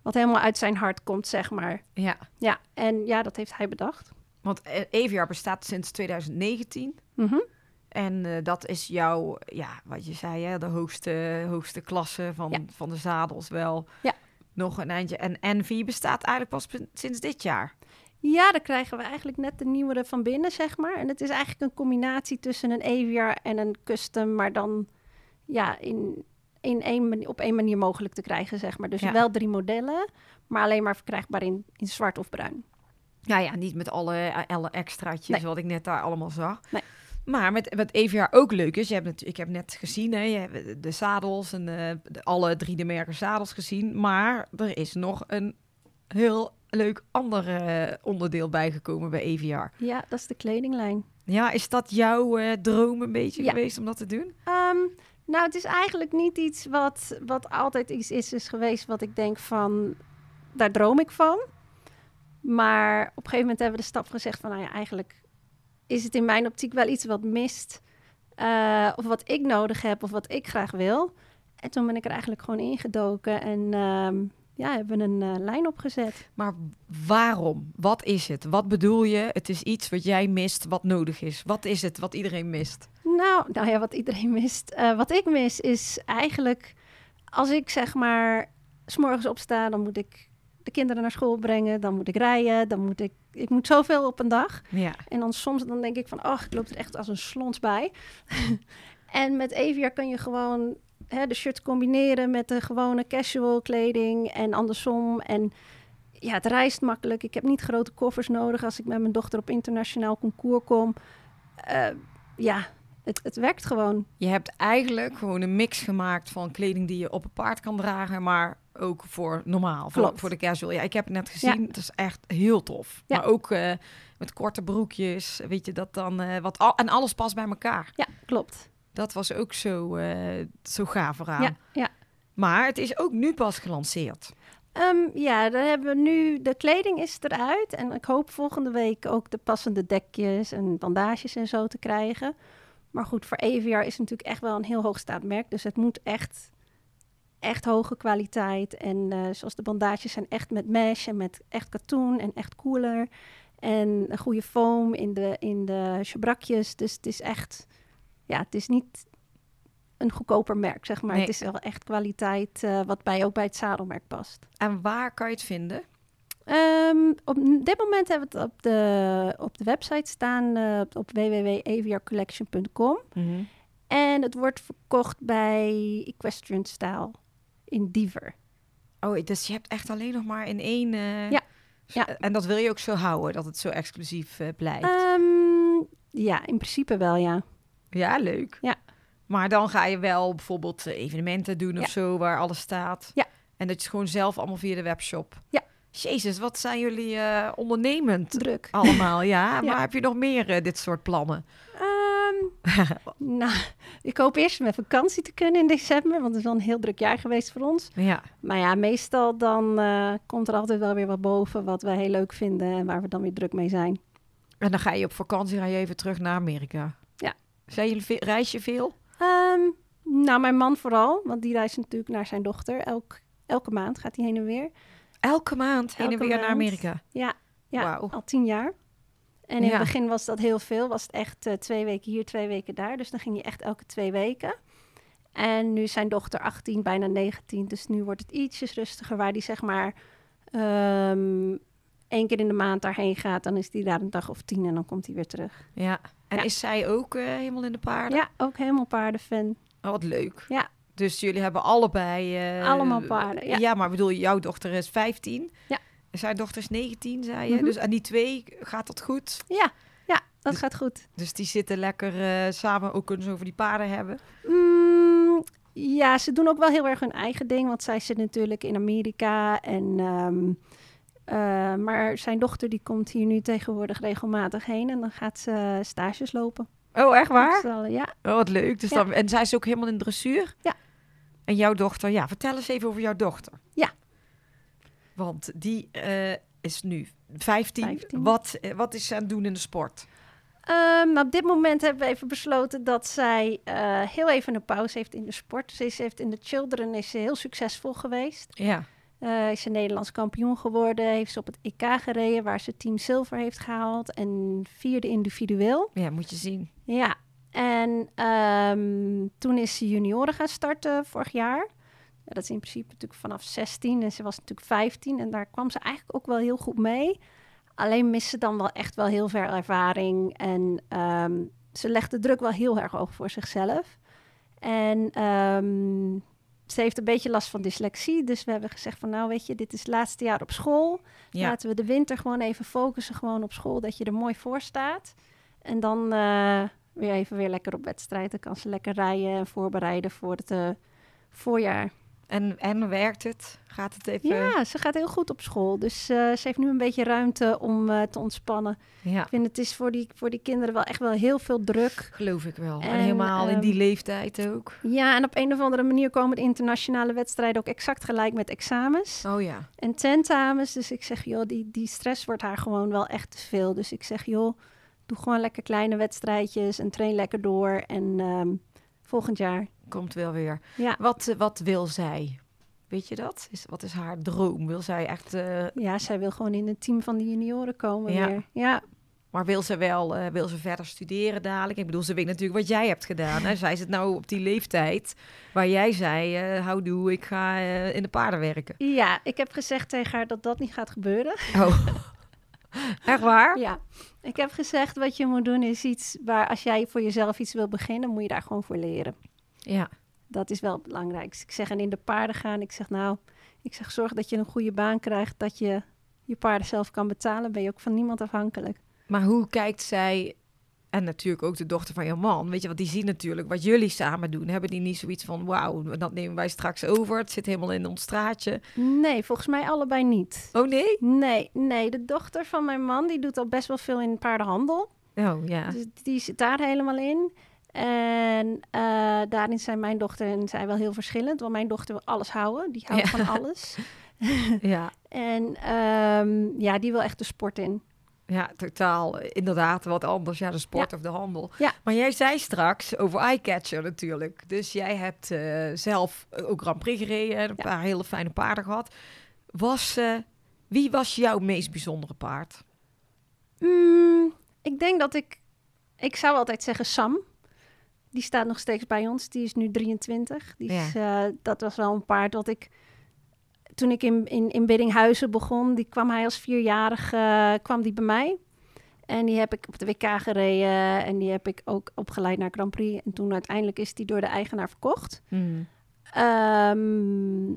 wat helemaal uit zijn hart komt, zeg maar. Ja, Ja, en ja, dat heeft hij bedacht. want eh, EVR bestaat sinds 2019 Mhm. en eh, dat is jouw, ja, wat je zei, hè, de hoogste, hoogste klasse van, Ja. van de zadels wel. Ja. Nog een eindje. En Envy bestaat eigenlijk pas pin- sinds dit jaar. Ja, dan krijgen we eigenlijk net de nieuwere van binnen, zeg maar. En het is eigenlijk een combinatie tussen een AVR en een custom, maar dan ja, in, in één mani- op één manier mogelijk te krijgen, zeg maar. Dus Ja. wel drie modellen, maar alleen maar verkrijgbaar in, in zwart of bruin. Nou ja, niet met alle, eh, alle extraatjes Nee. wat ik net daar allemaal zag. Nee. Maar met, wat EVR ook leuk is, je hebt het, ik heb net gezien, hè, je hebt de zadels en eh, de, alle drie de merken zadels gezien. Maar er is nog een heel leuk ander eh, onderdeel bijgekomen bij EVR. Ja, dat is de kledinglijn. Ja, is dat jouw eh, droom een beetje Ja. geweest om dat te doen? Ehm, nou, het is eigenlijk niet iets wat, wat altijd iets is, is geweest wat ik denk van, daar droom ik van. Maar op een gegeven moment hebben we de stap gezegd van, nou ja, eigenlijk is het in mijn optiek wel iets wat mist. eh, of wat ik nodig heb of wat ik graag wil. En toen ben ik er eigenlijk gewoon ingedoken en ehm, ja, hebben we een eh, lijn opgezet. Maar waarom? Wat is het? Wat bedoel je? Het is iets wat jij mist, wat nodig is. Wat is het wat iedereen mist? Nou, nou ja, wat iedereen mist. Eh, wat ik mis is eigenlijk, als ik zeg maar 's morgens opsta, dan moet ik de kinderen naar school brengen, dan moet ik rijden, dan moet ik, ik moet zoveel op een dag. Ja. En dan soms dan denk ik van, ach, ik loop er echt als een slons bij. en met Evia kan je gewoon hè, de shirt combineren met de gewone casual kleding en andersom. En ja, het reist makkelijk. Ik heb niet grote koffers nodig als ik met mijn dochter op internationaal concours kom. Eh, ja, het, het werkt gewoon. Je hebt eigenlijk gewoon een mix gemaakt van kleding die je op een paard kan dragen, maar ook voor normaal, voor, Klopt. voor de casual. Ja, ik heb het net gezien, het is echt heel tof. Ja. Maar ook eh, met korte broekjes, weet je dat dan eh, wat al, en alles past bij elkaar. Ja, klopt. Dat was ook zo, eh, zo gaaf eraan. Ja, ja. Maar het is ook nu pas gelanceerd. Ehm, ja, daar hebben we nu de kleding is eruit. En ik hoop volgende week ook de passende dekjes en bandages en zo te krijgen. Maar goed, voor EVR is het natuurlijk echt wel een heel hoogstaand merk. Dus het moet echt, echt hoge kwaliteit. En eh, zoals de bandages zijn echt met mesh en met echt katoen en echt koeler. En een goede foam in de, in de chabrakjes. Dus het is echt, ja, het is niet een goedkoper merk, zeg maar. Nee. Het is wel echt kwaliteit eh, wat bij, ook bij het zadelmerk past. En waar kan je het vinden? Ehm, op dit moment hebben we het op de, op de website staan, eh, op www.aviarcollection.com. En het wordt verkocht bij Equestrian Style in Diever. Oh, dus je hebt echt alleen nog maar in één. eh, Ja. Ja. En dat wil je ook zo houden, dat het zo exclusief eh, blijft. Ehm, ja, in principe wel, ja. Ja, leuk. Ja. Maar dan ga je wel bijvoorbeeld eh, evenementen doen of Ja. zo, waar alles staat. Ja. En dat je het gewoon zelf allemaal via de webshop. Ja. Jezus, wat zijn jullie eh, ondernemend Druk. allemaal, ja? Ja. Maar heb je nog meer eh, dit soort plannen? Ehm, nou, ik hoop eerst met vakantie te kunnen in december, want het is wel een heel druk jaar geweest voor ons. Ja. Maar ja, meestal dan eh, komt er altijd wel weer wat boven wat wij heel leuk vinden en waar we dan weer druk mee zijn. En dan ga je op vakantie, ga je even terug naar Amerika. Ja. Zijn jullie, ve- reis je veel? Ehm, nou, mijn man vooral, want die reist natuurlijk naar zijn dochter. Elk, elke maand gaat hij heen en weer. Elke maand heen en Elke weer naar maand. Amerika. Ja, ja Wauw. al tien jaar. En in Ja. het begin was dat heel veel. Was het echt eh, twee weken hier, twee weken daar. Dus dan ging je echt elke twee weken. En nu is zijn dochter 18, bijna 19. Dus nu wordt het ietsjes rustiger. Waar die zeg maar ehm, één keer in de maand daarheen gaat. Dan is die daar een dag of tien en dan komt hij weer terug. Ja. En Ja. is zij ook eh, helemaal in de paarden? Ja, ook helemaal paardenfan. Oh, wat leuk. Ja. Dus jullie hebben allebei... eh, Allemaal paarden, ja. Ja, maar bedoel, jouw dochter is 15. Ja. Zijn dochter is 19, zei je. Mhm. Dus aan die twee gaat dat goed. Ja, ja dat Dus- gaat goed. Dus die zitten lekker eh, samen, ook kunnen ze over die paarden hebben. Mm, ja, ze doen ook wel heel erg hun eigen ding. Want zij zit natuurlijk in Amerika. En, ehm, eh, maar zijn dochter die komt hier nu tegenwoordig regelmatig heen. En dan gaat ze stages lopen. Oh, echt waar? Dus dan, ja. Oh, wat leuk. Dus Ja. dan, en zij is ook helemaal in dressuur? Ja. En jouw dochter, ja, vertel eens even over jouw dochter. Ja. Want die eh, is nu 15. 15. Wat, eh, wat is ze aan het doen in de sport? Ehm, nou, op dit moment hebben we even besloten dat zij eh, heel even een pauze heeft in de sport. Ze is- heeft in de children is ze heel succesvol geweest. Ja. Eh, is ze Nederlands kampioen geworden. Heeft ze op het EK gereden waar ze team zilver heeft gehaald. En vierde individueel. Ja, moet je zien. Ja, en ehm, toen is ze junioren gaan starten vorig jaar. Ja, dat is in principe natuurlijk vanaf 16 en ze was natuurlijk 15 en daar kwam ze eigenlijk ook wel heel goed mee. Alleen mist ze dan wel echt wel heel veel ervaring en ehm, ze legt de druk wel heel erg hoog voor zichzelf. En ehm, ze heeft een beetje last van dyslexie, dus we hebben gezegd van nou weet je, dit is het laatste jaar op school. Ja. Laten we de winter gewoon even focussen gewoon op school, dat je er mooi voor staat. En dan eh, weer even weer lekker op wedstrijd. Dan kan ze lekker rijden en voorbereiden voor het eh, voorjaar. En, en werkt het? Gaat het even? Ja, ze gaat heel goed op school. Dus eh, ze heeft nu een beetje ruimte om eh, te ontspannen. Ja, Ik vind het is voor die, voor die kinderen wel echt wel heel veel druk. geloof ik wel. En, En, helemaal in die ehm, leeftijd ook. Ja, en op een of andere manier komen de internationale wedstrijden ook exact gelijk met examens. Oh ja. En tentamens, dus ik zeg, joh, die, die stress wordt haar gewoon wel echt te veel. Dus ik zeg, joh, doe gewoon lekker kleine wedstrijdjes en train lekker door. En ehm, volgend jaar, Komt wel weer. ja. Wat, eh, wat wil zij? Weet je dat? Is, wat is haar droom? Wil zij echt... eh, Ja, zij wil gewoon in het team van de junioren komen Ja. weer. Ja, Maar wil ze wel eh, wil ze verder studeren dadelijk? Ik bedoel, ze weet natuurlijk wat jij hebt gedaan. Hè? Zij zit nou op die leeftijd waar jij zei... eh hou doe, ik ga eh, in de paarden werken. ja, ik heb gezegd tegen haar dat dat niet gaat gebeuren. Oh. Echt waar? Ja, ik heb gezegd, wat je moet doen is iets waar als jij voor jezelf iets wil beginnen, moet je daar gewoon voor leren. Ja. Dat is wel het belangrijkste. Ik zeg, en in de paarden gaan. Ik zeg, nou, ik zeg, zorg dat je een goede baan krijgt. Dat je je paarden zelf kan betalen. Ben je ook van niemand afhankelijk. Maar hoe kijkt zij... En natuurlijk ook de dochter van jouw man. Weet je, want die zien natuurlijk wat jullie samen doen. Hebben die niet zoiets van, wauw, dat nemen wij straks over. Het zit helemaal in ons straatje. Nee, volgens mij allebei niet. Oh nee? Nee, nee. De dochter van mijn man, die doet al best wel veel in paardenhandel. Oh ja. Dus die zit daar helemaal in. En eh, daarin zijn mijn dochter en zij wel heel verschillend. Want mijn dochter wil alles houden. Die houdt Ja. van alles. ja. En ehm, ja, die wil echt de sport in. Ja, totaal. eh, Inderdaad, wat anders. Ja, de sport of de handel. Ja. Maar jij zei straks over eyecatcher natuurlijk. Dus jij hebt eh, zelf ook Grand Prix gereden en een Ja. paar hele fijne paarden gehad. Was, eh, wie was jouw meest bijzondere paard? Mm, ik denk dat ik... Ik zou altijd zeggen Sam. Die staat nog steeds bij ons. Die is nu 23. Die is, eh, dat was wel een paard dat ik... Toen ik in, in, in Biddinghuizen begon, die kwam hij als vierjarige eh, kwam die bij mij. En die heb ik op de WK gereden. En die heb ik ook opgeleid naar Grand Prix. En toen uiteindelijk is die door de eigenaar verkocht. Ehm,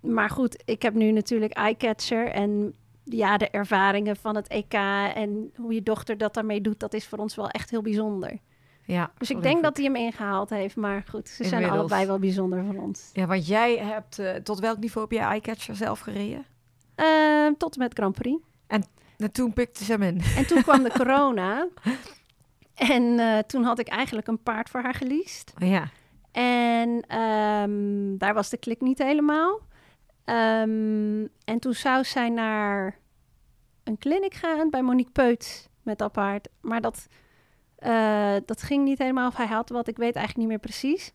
maar goed, ik heb nu natuurlijk Eyecatcher en ja, de ervaringen van het EK en hoe je dochter dat daarmee doet, dat is voor ons wel echt heel bijzonder. Ja, Dus ik sorry denk voor- dat hij hem ingehaald heeft, maar goed, ze zijn Oh, Inmiddels. allebei wel bijzonder voor ons. Ja, want jij hebt... eh, tot welk niveau heb jij eyecatcher zelf gereden? Ehm, tot en met Grand Prix. Nou, toen pikte ze hem in. En toen kwam de corona. En eh, toen had ik eigenlijk een paard voor haar geleased. Ja. En ehm, daar was de klik niet helemaal. Ehm, en toen zou zij naar een clinic gaan bij Monique Peut met dat paard. Maar dat, eh, dat ging niet helemaal. Of hij had wat, ik weet eigenlijk niet meer precies.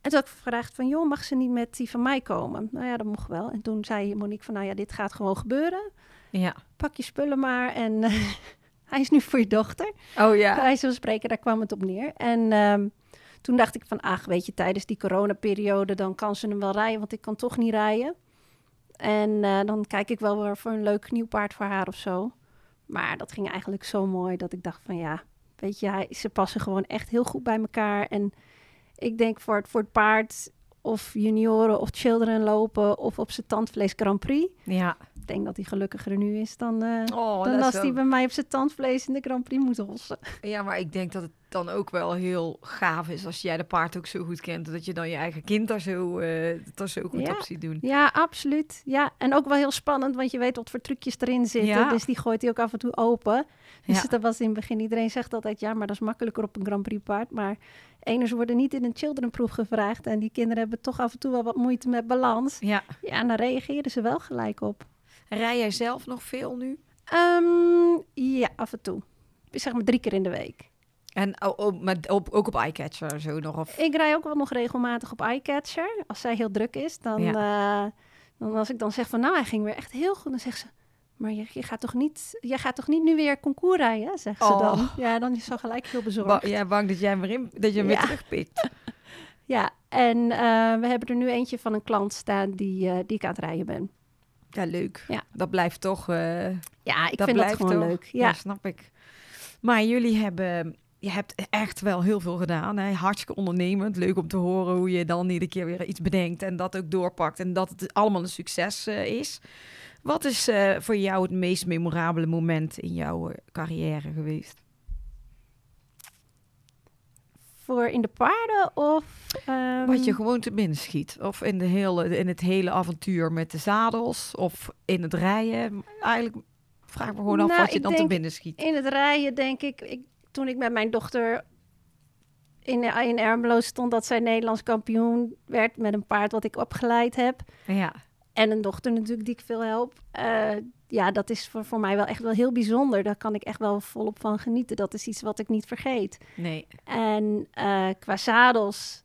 En toen had ik gevraagd van, joh, mag ze niet met die van mij komen? Nou ja, dat mocht wel. En toen zei Monique van, nou ja, dit gaat gewoon gebeuren. ja. Pak je spullen maar en hij is nu voor je dochter Oh bij ja. wijze van spreken, daar kwam het op neer. En ehm, Toen dacht ik van, ach, weet je, tijdens die coronaperiode, dan kan ze hem wel rijden, want ik kan toch niet rijden. En eh, dan kijk ik wel weer voor een leuk nieuw paard voor haar of zo. Maar dat ging eigenlijk zo mooi dat ik dacht van, ja, weet je, hij, ze passen gewoon echt heel goed bij elkaar. En ik denk voor het, voor het paard of junioren of children lopen of op zijn tandvlees Grand Prix. Ja. Ik denk dat hij gelukkiger nu is dan, eh, Oh, dan dat als is hij wel- bij mij op zijn tandvlees in de Grand Prix moet hossen. ja, maar ik denk dat het dan ook wel heel gaaf is als jij de paard ook zo goed kent. Dat je dan je eigen kind daar zo, eh, daar zo goed Ja. op ziet doen. Ja, absoluut. Ja, en ook wel heel spannend, want je weet wat voor trucjes erin zitten. Ja. Dus die gooit hij ook af en toe open. Dus Ja. dat was in het begin. Iedereen zegt altijd, ja, maar dat is makkelijker op een Grand Prix paard. Maar eners worden niet in een childrenproef gevraagd. En die kinderen hebben toch af en toe wel wat moeite met balans. Ja. Ja, en daar reageerden ze wel gelijk op. Rij jij zelf nog veel nu? Ehm, ja, af en toe. Zeg maar drie keer in de week. En oh, oh, maar op, ook op iCatcher en zo nog? Of... Ik rij ook wel nog regelmatig op Eyecatcher. Als zij heel druk is, dan, eh, dan als ik dan zeg van nou, hij ging weer echt heel goed, dan zegt ze. Maar je, je, gaat, toch niet, je gaat toch niet nu weer concours rijden, zegt ze Oh. dan. Ja, dan is ze gelijk heel bezorgd. Ba- ja, bang dat jij hem, erin, dat je hem Ja. weer terugpikt. Ja, en eh, we hebben er nu eentje van een klant staan die, eh, die ik aan het rijden ben. Ja, leuk. Ja. Dat blijft toch... eh, Ja, ik dat vind dat blijft gewoon toch? leuk. Ja. Ja, snap ik. Maar jullie hebben... Je hebt echt wel heel veel gedaan. Hè? Hartstikke ondernemend. Leuk om te horen hoe je dan iedere keer weer iets bedenkt. En dat ook doorpakt. En dat het allemaal een succes eh, is. Wat is eh, voor jou het meest memorabele moment in jouw eh, carrière geweest? voor in de paarden of... ehm, Wat je gewoon te binnen schiet. Of in, de hele, in het hele avontuur met de zadels. Of in het rijden. Eigenlijk vraag ik me gewoon af Nou, wat je ik dan te denk- binnen schiet. In het rijden denk ik, ik toen ik met mijn dochter in, in Ermelo stond, dat zij Nederlands kampioen werd met een paard wat ik opgeleid heb. Ja. En een dochter natuurlijk die ik veel help. Eh, ja, dat is voor, voor mij wel echt wel heel bijzonder. Daar kan ik echt wel volop van genieten. Dat is iets wat ik niet vergeet. Nee. En eh, qua zadels,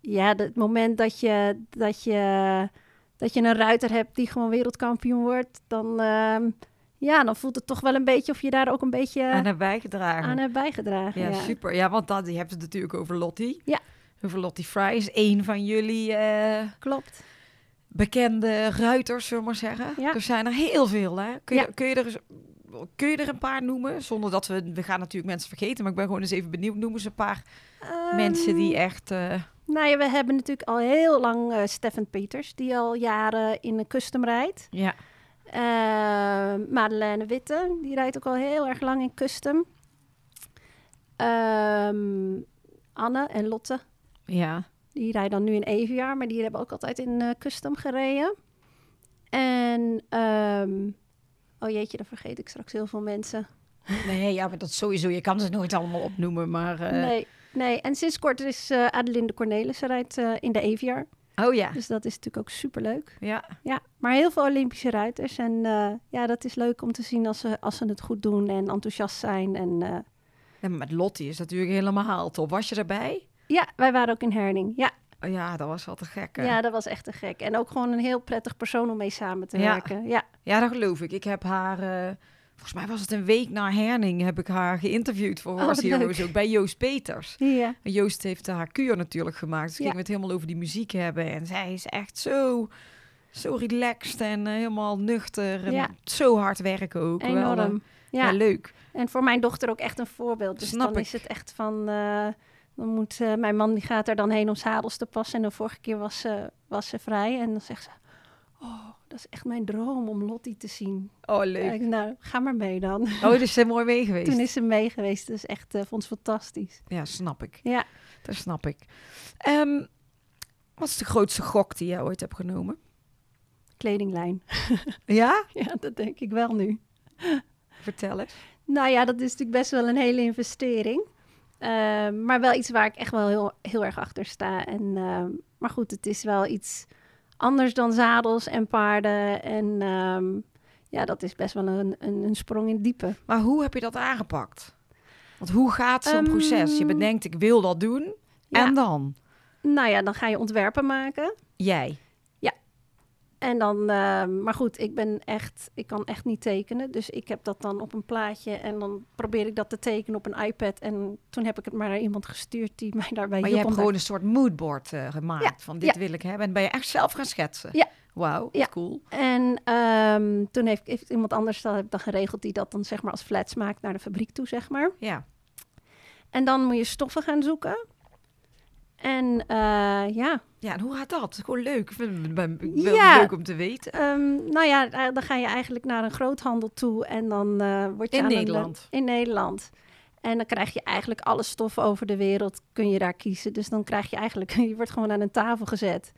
ja, de- het moment dat je, dat, je, dat je een ruiter hebt die gewoon wereldkampioen wordt, dan, ehm, ja, dan voelt het toch wel een beetje of je daar ook een beetje Aan hebben bijgedragen. aan hebt bijgedragen. Ja, super. Ja, want dat, je hebt het natuurlijk over Lottie. Ja. Over Lottie Fry is één van jullie eh, Klopt. bekende ruiters, zullen we maar zeggen. Ja. Er zijn er heel veel, hè? Kun je, Ja. kun je er eens- Kun je er een paar noemen? Zonder dat we... We gaan natuurlijk mensen vergeten, maar ik ben gewoon eens even benieuwd. Noemen ze een paar Ehm. mensen die echt... eh, Nou ja, we hebben natuurlijk al heel lang eh Stefan Peters, die al jaren in de custom rijdt. ja. Eh, Madeleine Witte, die rijdt ook al heel erg lang in custom. Ehm, Anne en Lotte, Ja. die rijden dan nu in EVR, maar die hebben ook altijd in eh, custom gereden. En, ehm, oh jeetje, dan vergeet ik straks heel veel mensen. Nee, ja, maar dat sowieso. Je kan ze nooit allemaal opnoemen, maar... eh, Nee, nee, en sinds kort is eh Adelinde Cornelissen rijdt eh, in de EVR. Oh ja. Dus dat is natuurlijk ook superleuk. Ja. Ja, maar heel veel Olympische ruiters. En eh, ja, dat is leuk om te zien als ze, als ze het goed doen en enthousiast zijn. En eh, En met Lottie is natuurlijk helemaal top. Was je erbij? ja, wij waren ook in Herning. Ja, Oh Ja, dat was wel te gek. hè? ja, dat was echt te gek. En ook gewoon een heel prettig persoon om mee samen te Ja. werken. Ja, Ja, dat geloof ik. Ik heb haar, eh, volgens mij was het een week na Herning, heb ik haar geïnterviewd voor Oh, Horse wat Heroes, leuk. ook bij Joost Peters. ja. En Joost heeft haar kuur natuurlijk gemaakt, dus Ja. gingen we het helemaal over die muziek hebben. En zij is echt zo, zo relaxed en eh, helemaal nuchter en Ja. zo hard werken ook. Wel, eh, enorm. ja. Ja. leuk. en voor mijn dochter ook echt een voorbeeld. Dus Snap dan ik. is het echt van... eh, dan moet, eh, mijn man die gaat er dan heen om zadels te passen. En de vorige keer was ze, was ze vrij. En dan zegt ze... Oh, dat is echt mijn droom om Lottie te zien. Oh, Ja, leuk. ik, nou, ga maar mee dan. Oh, dus ze is mooi mee geweest. Toen is ze mee geweest, dus echt, eh, vond ze fantastisch. Ja, snap ik. Ja. Dat snap ik. Ehm, wat is de grootste gok die jij ooit hebt genomen? Kledinglijn. Ja? Ja, dat denk ik wel nu. Vertel eens. Nou ja, dat is natuurlijk best wel een hele investering. Ehm, maar wel iets waar ik echt wel heel, heel erg achter sta. En, ehm, maar goed, het is wel iets anders dan zadels en paarden. En ehm, ja, dat is best wel een, een, een sprong in het diepe. Maar hoe heb je dat aangepakt? Want hoe gaat zo'n Ehm, proces? Je bedenkt, ik wil dat doen. Ja. En dan? Nou ja, dan ga je ontwerpen maken. Jij. En En dan, eh, maar goed, ik ben echt, ik kan echt niet tekenen. Dus ik heb dat dan op een plaatje en dan probeer ik dat te tekenen op een iPad. En toen heb ik het maar naar iemand gestuurd die mij daarbij Maar je hielp. hebt om daar- gewoon een soort moodboard eh, gemaakt Ja, van dit ja. wil ik hebben. En ben je echt zelf gaan schetsen. Ja. Wauw, wat Ja. cool. En ehm, toen heeft, heeft iemand anders dat heb ik dan geregeld die dat dan zeg maar als flats maakt naar de fabriek toe, zeg maar. Ja. En dan moet je stoffen gaan zoeken. En eh, ja, Ja, en hoe gaat dat? Gewoon leuk. Ik vind het ben- ik ben Ja. leuk om te weten. Ehm, nou ja, eh, dan ga je eigenlijk naar een groothandel toe en dan eh word je In aan een- Nederland? in Nederland. En dan krijg je eigenlijk alle stoffen over de wereld, kun je daar kiezen. Dus dan krijg je eigenlijk, je wordt gewoon aan een tafel gezet.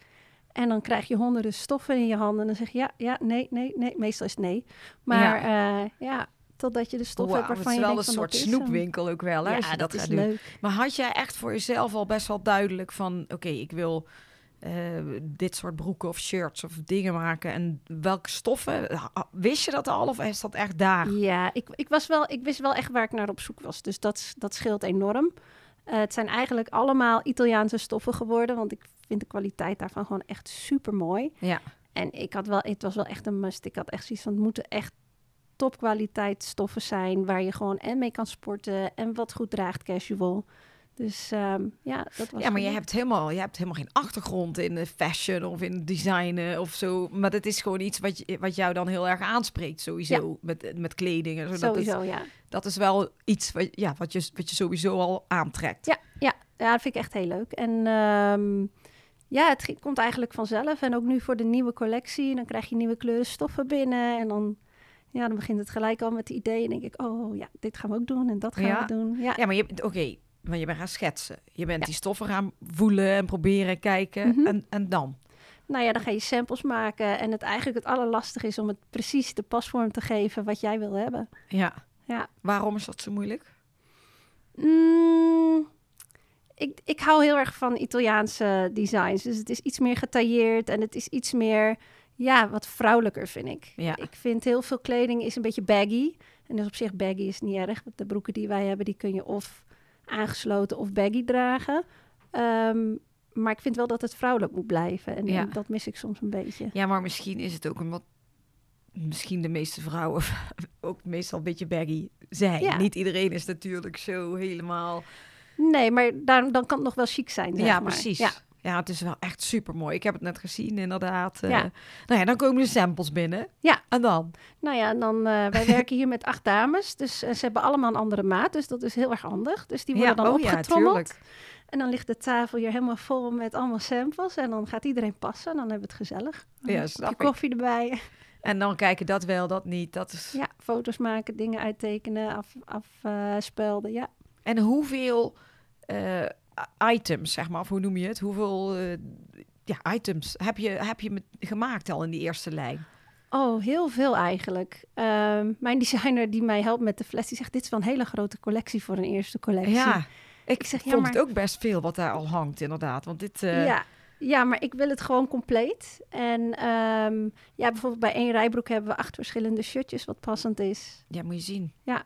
En dan krijg je honderden stoffen in je handen. En dan zeg je ja, ja, nee, nee, nee. Meestal is het nee. Maar ja, ja totdat je de stof Wauw, hebt het waarvan is je wel denkt een van, soort dat is hem. snoepwinkel ook wel. Hè, als Ja, je dat, dat, is gaat doen. leuk. Maar had jij echt voor jezelf al best wel duidelijk van... oké, ik wil eh, dit soort broeken of shirts of dingen maken... en welke stoffen? eh, Ha- Wist je dat al of is dat echt daar? Ja, ik, ik, was wel, ik wist wel echt waar ik naar op zoek was. Dus dat, s- dat scheelt enorm. Eh, het zijn eigenlijk allemaal Italiaanse stoffen geworden. Want ik vind de kwaliteit daarvan gewoon echt super mooi. Ja. En ik had wel, het was wel echt een must. Ik had echt zoiets van: het moeten echt topkwaliteit stoffen zijn. Waar je gewoon en mee kan sporten. En wat goed draagt casual. Dus ehm, ja, dat was. Ja, maar je gewoon- hebt, helemaal, je hebt helemaal geen achtergrond in eh, fashion of in designen of zo. Maar dat is gewoon iets wat, je- wat jou dan heel erg aanspreekt sowieso met, met kleding. En zo. Dat, is, Sowieso, ja. dat is wel iets wat, ja, wat, je, wat je sowieso al aantrekt. Ja, ja. ja, dat vind ik echt heel leuk. En ehm, ja, het ging- komt eigenlijk vanzelf. En ook nu voor de nieuwe collectie, dan krijg je nieuwe kleuren stoffen binnen. En dan, ja, dan begint het gelijk al met het idee. En denk ik, oh ja, dit gaan we ook doen en dat gaan Ja. we doen. Ja, Ja, maar je hebt- oké, want je bent gaan schetsen. Je bent die stoffen gaan voelen en proberen kijken. Mhm. en, en dan? nou ja, dan ga je samples maken. En het eigenlijk het allerlastigste is om het precies de pasvorm te geven wat jij wil hebben. Ja. Ja. Waarom is dat zo moeilijk? Mm, ik, ik hou heel erg van Italiaanse designs. Dus het is iets meer getailleerd en het is iets meer, ja, wat vrouwelijker vind ik. Ja. Ik vind heel veel kleding is een beetje baggy. En dus op zich baggy is niet erg. Want de broeken die wij hebben, die kun je of aangesloten of baggy dragen. Ehm, maar ik vind wel dat het vrouwelijk moet blijven. En, Ja. en dat mis ik soms een beetje. Ja, maar misschien is het ook omdat misschien de meeste vrouwen ook meestal een beetje baggy zijn. Ja. Niet iedereen is natuurlijk zo helemaal. Nee, maar daar, dan kan het nog wel chic zijn. zeg ja, maar. precies. Ja. Ja. het is wel echt super mooi. Ik heb het net gezien, inderdaad. Eh, Ja. nou ja, dan komen de samples binnen. Ja. En dan? Nou ja, en dan, eh, wij werken hier met acht dames. Dus eh, ze hebben allemaal een andere maat. Dus dat is heel erg handig. Dus die worden ja, dan oh ja, opgetrommeld. tuurlijk. en dan ligt de tafel hier helemaal vol met allemaal samples. En dan gaat iedereen passen. En dan hebben we het gezellig. Dan Ja, een snap kopje ik. koffie erbij. En dan kijken dat wel, dat niet. Dat is... Ja, foto's maken, dingen uittekenen, afspelden. Af, eh, spelden. ja. En hoeveel eh, items, zeg maar, of hoe noem je het? Hoeveel eh, ja, items heb je, heb je met- gemaakt al in die eerste lijn? Oh, heel veel eigenlijk. Ehm, mijn designer die mij helpt met de fles, die zegt... dit is wel een hele grote collectie voor een eerste collectie. Ja, ik, Ik zeg, ja, vond maar- het ook best veel wat daar al hangt, inderdaad. Want dit... eh, Ja. ja, maar ik wil het gewoon compleet. En ehm, ja, bijvoorbeeld bij één rijbroek hebben we acht verschillende shirtjes, wat passend is. Ja, moet je zien. Ja.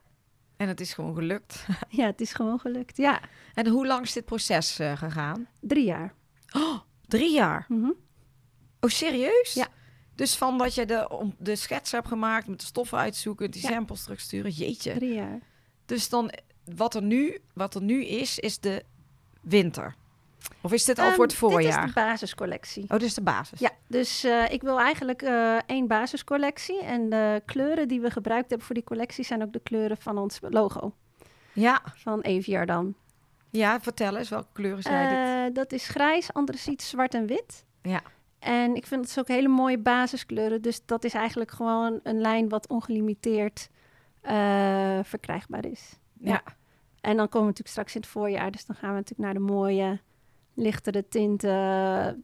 En het is gewoon gelukt. Ja, het is gewoon gelukt. Ja, En hoe lang is dit proces eh, gegaan? drie jaar. Oh, Drie jaar. Mhm. Oh, serieus? Ja. Dus van dat je de, om- de schets hebt gemaakt met de stoffen uitzoeken, die Ja. samples terugsturen, jeetje. Drie jaar. Dus dan, eh, wat er nu, wat er nu is, is de winter. Of is dit al Ehm, voor het voorjaar? Dit is de basiscollectie. Oh, dit is de basis. Ja, dus eh, ik wil eigenlijk eh, één basiscollectie. En de kleuren die we gebruikt hebben voor die collectie zijn ook de kleuren van ons logo. Ja, Van EVR dan. ja vertel eens, welke kleuren zijn dit? Eh, dat is grijs, anderzijds zwart en wit. Ja. En ik vind dat ze ook hele mooie basiskleuren. Dus dat is eigenlijk gewoon een lijn wat ongelimiteerd eh, verkrijgbaar is. Ja. En dan komen we natuurlijk straks in het voorjaar. Dus dan gaan we natuurlijk naar de mooie, lichtere tinten.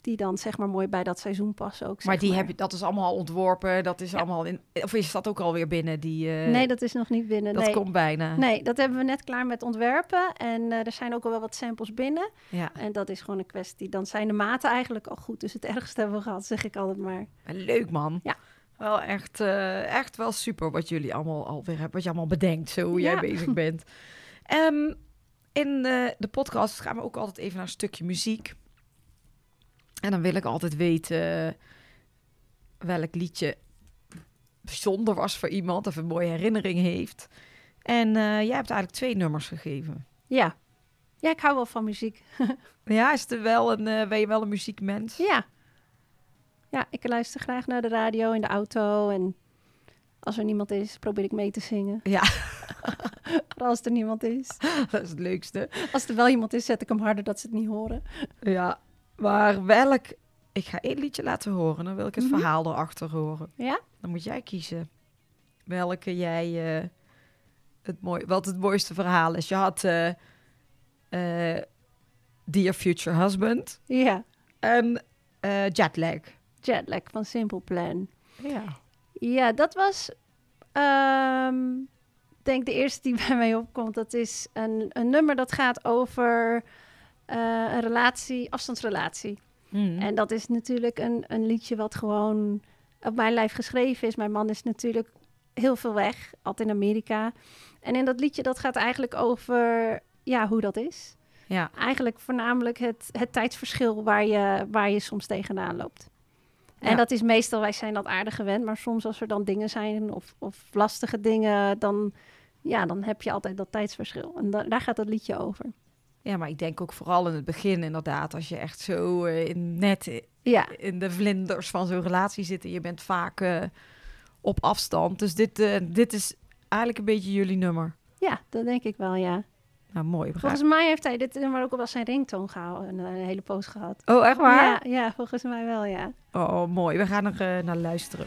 Die dan zeg maar mooi bij dat seizoen passen ook. Maar zeg die heb je, dat is allemaal al ontworpen, dat is Ja. allemaal in... Of is dat ook alweer binnen die... eh, Nee, dat is nog niet binnen. dat nee. komt eh. bijna. nee, dat hebben we net klaar met ontwerpen. En eh, er zijn ook al wel wat samples binnen. Ja. En dat is gewoon een kwestie. Dan zijn de maten eigenlijk al goed. Dus het ergste hebben we gehad, zeg ik altijd maar. Maar Leuk man. Ja. Wel echt, eh, echt wel super wat jullie allemaal alweer hebben. Wat je allemaal bedenkt, zo hoe jij Ja. bezig bent. Ehm, in eh, de podcast gaan we ook altijd even naar een stukje muziek. En dan wil ik altijd weten welk liedje bijzonder was voor iemand of een mooie herinnering heeft. En eh, jij hebt eigenlijk twee nummers gegeven. Ja. Ja, ik hou wel van muziek. Ja, is er wel een, eh, ben je wel een muziekmens? Ja. Ja, ik luister graag naar de radio in de auto. En als er niemand is, probeer ik mee te zingen. Ja. Vooral als er niemand is. Dat is het leukste. Als er wel iemand is, zet ik hem harder dat ze het niet horen. Ja, maar welk... Ik ga één liedje laten horen, dan wil ik het Mhm. verhaal erachter horen. Ja? Dan moet jij kiezen welke jij... eh, het mooi, wat het mooiste verhaal is. Je had eh, eh, Dear Future Husband Ja. en eh, Jetlag. Jetlag van Simple Plan. Ja. Ja, dat was. ehm, ik denk de eerste die bij mij opkomt. Dat is een, een nummer dat gaat over eh, een relatie, afstandsrelatie. Mhm. En dat is natuurlijk een, een liedje wat gewoon op mijn lijf geschreven is. Mijn man is natuurlijk heel veel weg, altijd in Amerika. En in dat liedje dat gaat eigenlijk over ja, hoe dat is. ja. Eigenlijk voornamelijk het, het tijdsverschil waar je, waar je soms tegenaan loopt. En Ja. dat is meestal, wij zijn dat aardig gewend, maar soms als er dan dingen zijn of, of lastige dingen, dan, ja, dan heb je altijd dat tijdsverschil. En da- daar gaat dat liedje over. ja, maar ik denk ook vooral in het begin inderdaad. Als je echt zo eh, in, net i- Ja, in de vlinders van zo'n relatie zit... en je bent vaak eh, op afstand. Dus dit, eh, dit is eigenlijk een beetje jullie nummer. ja, dat denk ik wel, ja. Nou, mooi. we gaan- Volgens mij heeft hij dit nummer ook al wel zijn ringtoon gehouden, een, een hele poos gehad. Oh, echt waar? Ja, ja, volgens mij wel, ja. Oh, mooi. We gaan er eh, naar luisteren.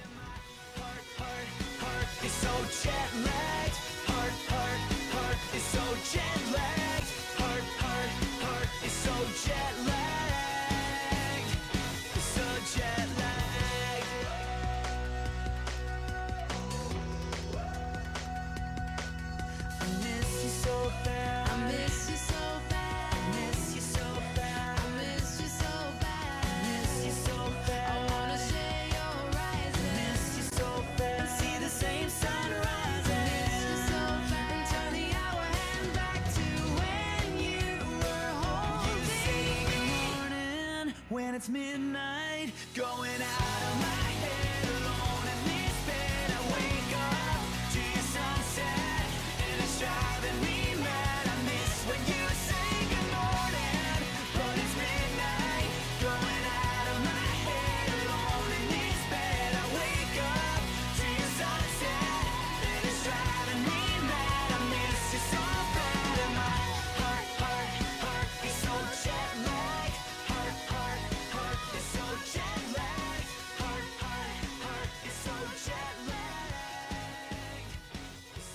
When it's midnight, going out of my head alone in this bed. I wake up to your sunset, and it's driving me mad. I miss when you say good morning, but it's midnight, going out of my head alone in this bed. I wake up to your sunset, and it's driving me mad. I miss you so bad, and my heart, heart, heart is so jet lagged. Heart, heart, heart is so jet lagged. Heart, heart, heart is so jet lagged.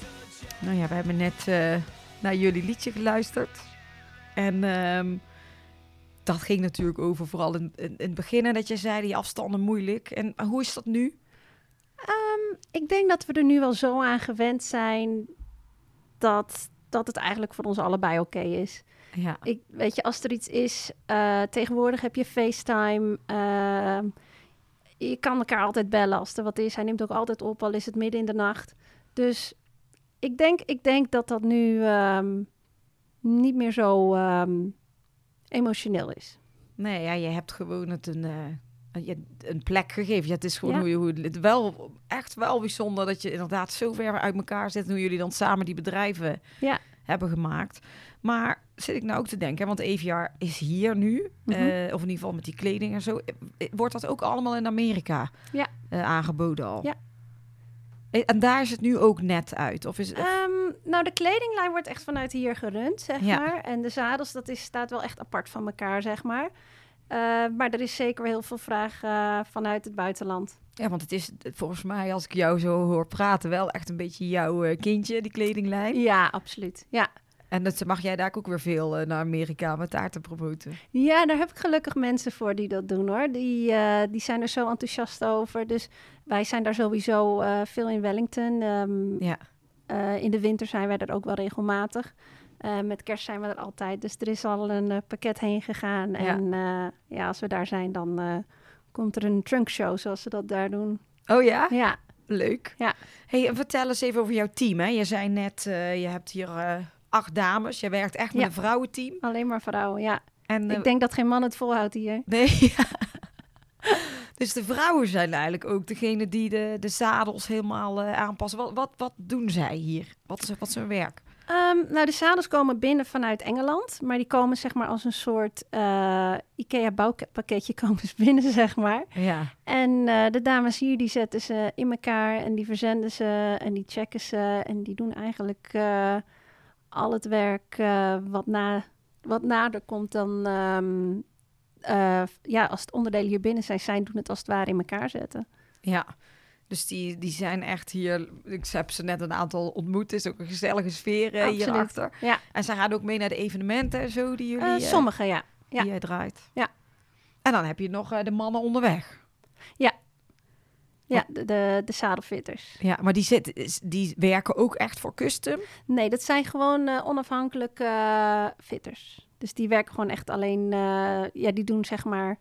So jet Nou ja, we hebben net eh, naar jullie liedje geluisterd. En ehm, dat ging natuurlijk over vooral in, in, in het begin. En dat je zei, die afstanden moeilijk. En eh, hoe is dat nu? Ehm, ik denk dat we er nu wel zo aan gewend zijn dat, dat het eigenlijk voor ons allebei oké is. Ja. Ik, weet je, als er iets is, eh, tegenwoordig heb je FaceTime. eh, je kan elkaar altijd bellen als er wat is. Hij neemt ook altijd op, al is het midden in de nacht. Dus ik denk, ik denk dat dat nu ehm, niet meer zo ehm, emotioneel is. Nee, ja, je hebt gewoon het een, eh, je- een plek gegeven. Ja, het is gewoon Ja. hoe, je- hoe het wel echt wel bijzonder dat je inderdaad zo ver uit elkaar zit. en Hoe jullie dan samen die bedrijven Ja. hebben gemaakt. Maar zit ik nou ook te denken, hè, want EVR is hier nu. Mhm. eh, of in ieder geval met die kleding en zo. Eh, Wordt dat ook allemaal in Amerika Ja. eh, aangeboden al? Ja. Eh, En daar is het nu ook net uit? Of is, of- Ehm, nou, de kledinglijn wordt echt vanuit hier gerund, zeg Ja. maar. En de zadels, dat is, staat wel echt apart van elkaar, zeg maar. Eh, maar er is zeker heel veel vraag eh, vanuit het buitenland. Ja, want het is eh, volgens mij, als ik jou zo hoor praten, wel echt een beetje jouw eh, kindje, die kledinglijn. Ja, absoluut. Ja. En dat mag jij daar ook weer veel eh, naar Amerika met daar te promoten. ja, daar heb ik gelukkig mensen voor die dat doen, hoor. Die, eh, die zijn er zo enthousiast over. Dus wij zijn daar sowieso eh, veel in Wellington. Ehm, Ja. eh, in de winter zijn wij er ook wel regelmatig. Eh, met kerst zijn we er altijd. Dus er is al een eh, pakket heen gegaan. En eh, ja, als we daar zijn, dan eh, komt er een trunkshow, zoals ze dat daar doen. Oh ja? Ja, Leuk. Ja. Hey, en vertel eens even over jouw team. Hè? Je zei net, eh, je hebt hier eh, acht dames. Je werkt echt met Ja. een vrouwenteam. alleen maar vrouwen. Ja, En, eh, ik denk dat geen man het volhoudt hier. Nee. Dus de vrouwen zijn eigenlijk ook degene die de, de zadels helemaal eh, aanpassen. Wat, wat, wat doen zij hier? Wat is, wat is hun werk? Ehm, nou, de zadels komen binnen vanuit Engeland, maar die komen zeg maar als een soort eh, IKEA-bouwpakketje komen ze binnen, zeg maar. Ja. En eh, de dames hier, die zetten ze in elkaar en die verzenden ze en die checken ze en die doen eigenlijk eh, al het werk eh, wat, na, wat nader komt dan, ehm, eh, ja, als het onderdelen hier binnen zijn, zij doen het als het ware in elkaar zetten. Ja, dus die, die zijn echt hier. Ik heb ze net een aantal ontmoet. Het is ook een gezellige sfeer eh, Absoluut. hierachter. Ja. En zij gaan ook mee naar de evenementen en zo die jullie. Eh, eh, sommige, ja. ja. Die jij draait. Ja. En dan heb je nog eh, de mannen onderweg. Ja, de, de, de zadelfitters. Ja, maar die, zit, is- die werken ook echt voor custom. Nee, dat zijn gewoon eh, onafhankelijke eh, fitters. Dus die werken gewoon echt alleen... eh, ja, die doen zeg maar...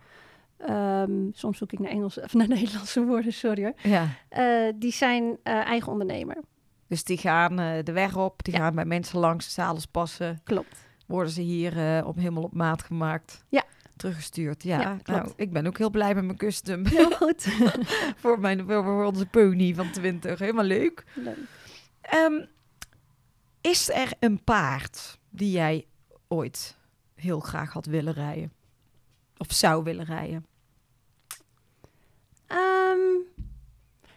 ehm, soms zoek ik naar, Engelse, of naar Nederlandse woorden, sorry hoor. Ja. Eh, die zijn eh, eigen ondernemer. Dus die gaan eh, de weg op. Die gaan bij mensen langs de zadels passen. Klopt. Worden ze hier eh, op, helemaal op maat gemaakt. Ja. Teruggestuurd. Ja, Ja, klopt. nou, ik ben ook heel blij met mijn custom. Heel goed. voor, mijn, voor onze pony van 20. Helemaal leuk. Leuk. Ehm, is er een paard die jij ooit heel graag had willen rijden? Of zou willen rijden? Ehm,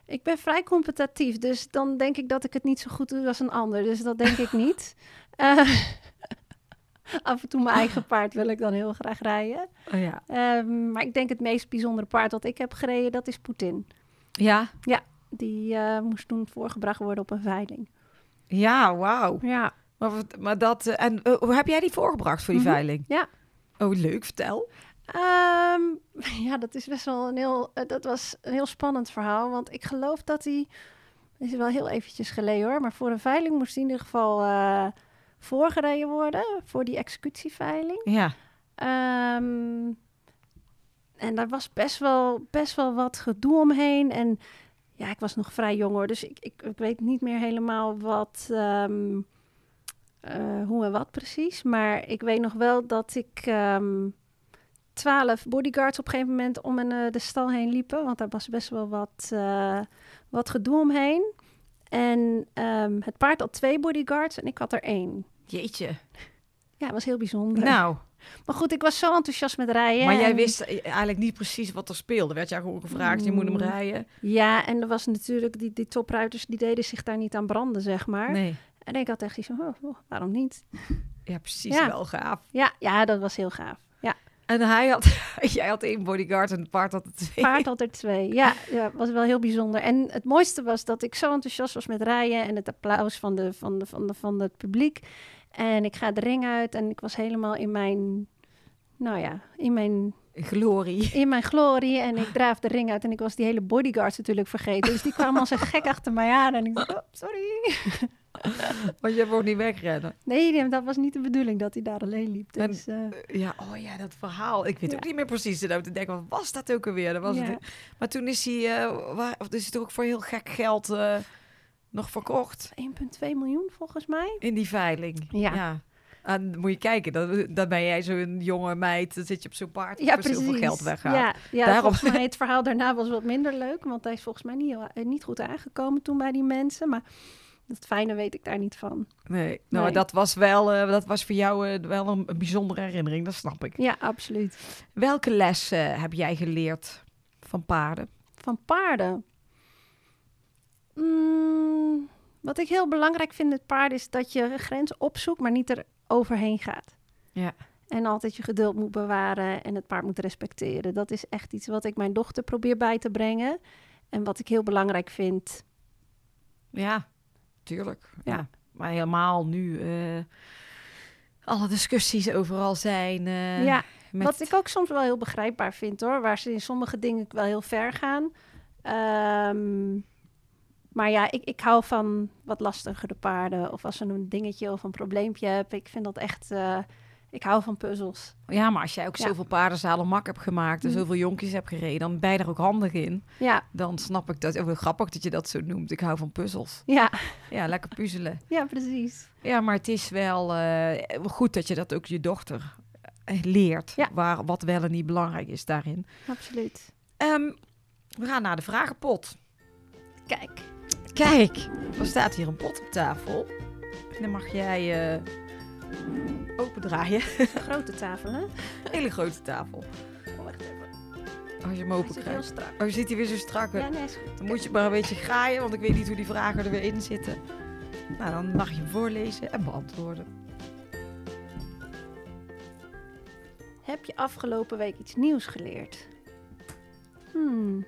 ik ben vrij competitief, dus dan denk ik dat ik het niet zo goed doe als een ander. Dus dat denk ik niet. Eh, af en toe mijn eigen paard wil ik dan heel graag rijden. Oh ja. Ehm, maar ik denk het meest bijzondere paard dat ik heb gereden, dat is Poetin. Ja? Die eh, moest toen voorgebracht worden op een veiling. Ja, wauw. Ja. Maar, wat- maar dat... eh, En eh, hoe heb jij die voorgebracht voor die Mhm, veiling? ja. Oh, leuk. Vertel. Ehm, ja, dat is best wel een heel, eh, dat was een heel spannend verhaal. Want ik geloof dat hij, dat is wel heel eventjes geleden hoor, maar voor een veiling moest hij in ieder geval eh, voorgereden worden. Voor die executieveiling. Ja. Ehm, en daar was best wel, best wel wat gedoe omheen. En ja, ik was nog vrij jong hoor, dus ik, ik, ik weet niet meer helemaal wat, ehm, eh, hoe en wat precies. Maar ik weet nog wel dat ik ehm, twaalf bodyguards op een gegeven moment om en, eh, de stal heen liepen. Want daar was best wel wat, eh, wat gedoe omheen. En ehm, het paard had twee bodyguards en ik had er één. Jeetje. Ja, het was heel bijzonder. Nou, Maar goed, ik was zo enthousiast met rijden. maar jij en- wist eh, eigenlijk niet precies wat er speelde. Werd jij gewoon gevraagd, je moet hem Mm. rijden? Ja, en er was natuurlijk die, die topruiters, die deden zich daar niet aan branden, zeg maar. Nee. En ik had echt iets van, oh, oh, waarom niet? Ja, precies. Ja. Wel gaaf. Ja, ja, dat was heel gaaf. Ja, En hij had... jij had één bodyguard en het paard had het twee. paard had er twee. Ja, ja, was wel heel bijzonder. En het mooiste was dat ik zo enthousiast was met rijden en het applaus van, de, van, de, van, de, van het publiek. En ik ga de ring uit en ik was helemaal in mijn, nou ja, in mijn Glorie. in mijn glorie en ik draaf de ring uit en ik was die hele bodyguards natuurlijk vergeten. Dus die kwamen als een gek achter mij aan en ik dacht, oh, sorry. Want jij wordt niet wegrennen. Nee, die- dat was niet de bedoeling dat hij daar alleen liep. En- Dus, eh, Ja, oh ja, dat verhaal. Ik weet Ja. ook niet meer precies. Ik te denken, wat was dat ook alweer? Dat was Ja. het. Maar toen is hij, eh, waar, of is het ook voor heel gek geld eh, nog verkocht 1,2 miljoen volgens mij. in die veiling. Ja. En moet je kijken, dan, dan ben jij zo'n jonge meid, dan zit je op zo'n paard ja, Ja, voor zoveel precies. geld weggaat. Ja, ja Daarom- volgens mij het verhaal daarna was wat minder leuk. Want hij is volgens mij niet, heel- eh, niet goed aangekomen toen bij die mensen. Maar dat fijne weet ik daar niet van. Nee, nou, maar Nee. dat was wel, eh, dat was voor jou eh, wel een, een bijzondere herinnering, dat snap ik. Ja, absoluut. Welke les eh, heb jij geleerd van paarden? Van paarden. Mm, wat ik heel belangrijk vind met paarden is dat je een grens opzoekt, maar niet er overheen gaat. Ja. En altijd je geduld moet bewaren en het paard moet respecteren. Dat is echt iets wat ik mijn dochter probeer bij te brengen. En wat ik heel belangrijk vind. Ja, tuurlijk. Ja. Ja. Maar helemaal nu eh, alle discussies overal zijn. eh, ja, met- wat ik ook soms wel heel begrijpbaar vind hoor. Waar ze in sommige dingen wel heel ver gaan. Ehm, maar ja, ik, ik hou van wat lastigere paarden. Of als ze een dingetje of een probleempje hebben. Ik vind dat echt... eh, ik hou van puzzels. ja, Mm. maar als jij ook Ja. zoveel paardenzalen mak hebt gemaakt en Mhm. zoveel jonkjes hebt gereden, dan ben je er ook handig in. Ja, Dan snap ik dat. Oh, wel grappig dat je dat zo noemt. Ik hou van puzzels. ja, Ja, lekker puzzelen. ja, precies. Ja, maar het is wel eh, goed dat je dat ook je dochter eh, leert. Ja. Waar, wat wel en niet belangrijk is daarin. Absoluut. Ehm, We gaan naar de vragenpot. Kijk. Kijk, er staat hier een pot op tafel. En dan mag jij eh opendraaien. Een grote tafel, hè? Hele grote tafel. Oh, wacht even. Als je hem Hij zit heel openkrijgt. strak. Oh, je ziet hij weer zo strak. Ja, Dan nee, is goed. moet je maar een beetje graaien, want ik weet niet hoe die vragen er weer in zitten. Nou, dan mag je hem voorlezen en beantwoorden. Heb je afgelopen week iets nieuws geleerd? Hmm.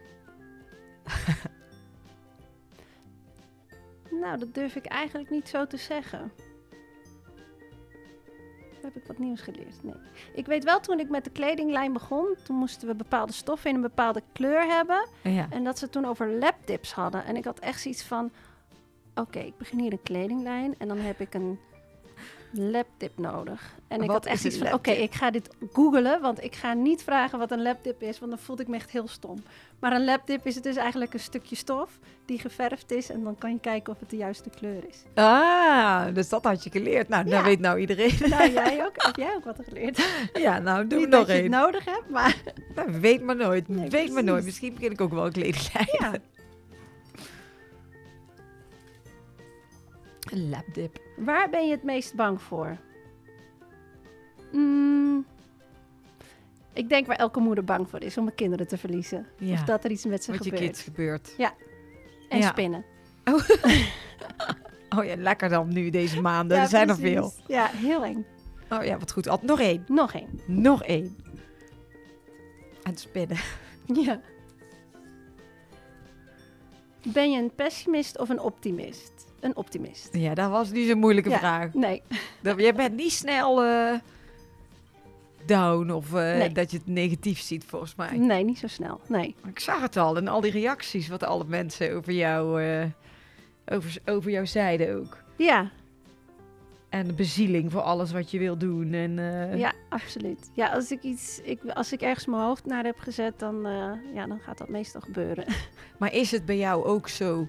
nou, dat durf ik eigenlijk niet zo te zeggen. Heb ik wat nieuws geleerd? Nee. Ik weet wel, toen ik met de kledinglijn begon, toen moesten we bepaalde stoffen in een bepaalde kleur hebben. Ja. En dat ze toen over lapdips hadden. En ik had echt zoiets van... Oké, ik begin hier een kledinglijn en dan heb ik een lapdip nodig. En ik Wat had echt is een zoiets van... Oké, lapdip? ik ga dit googelen, want ik ga niet vragen wat een lapdip is. Want dan voelde ik me echt heel stom. Maar een lapdip is dus eigenlijk een stukje stof die geverfd is. En dan kan je kijken of het de juiste kleur is. Ah, dus dat had je geleerd. Nou, dat Ja. weet nou iedereen. Nou, jij ook? Heb jij ook wat geleerd? Ja, nou, doe niet nog dat je één. het nodig hebt, maar... Nou, weet maar nooit. Nee, weet maar nooit. precies. Misschien begin ik ook wel een kledinglijn. Ja. Een lapdip. Waar ben je het meest bang voor? Mm, ik denk waar elke moeder bang voor is, om haar kinderen te verliezen. Ja. Of dat er iets met ze Wat je gebeurt. kids gebeurt. En Ja. spinnen. Oh ja, lekker dan nu deze maanden. er zijn precies. er veel. Ja, heel eng. Oh ja, wat goed. Ad, nog één. Nog één. Nog één. Aan het spinnen. Ja. Ben je een pessimist of een optimist? Een optimist. Ja, dat was niet zo'n moeilijke Ja. vraag. Nee, Dat, je bent niet snel eh, down of eh, Nee. dat je het negatief ziet, volgens mij. nee, niet zo snel. Nee. Ik zag het al en al die reacties wat alle mensen over jou, eh, over, over jou zeiden ook. Ja, En de bezieling voor alles wat je wil doen. En, eh, ja, absoluut. Ja, als ik, iets, ik, als ik ergens mijn hoofd naar heb gezet, dan, eh, ja, dan gaat dat meestal gebeuren. Maar is het bij jou ook zo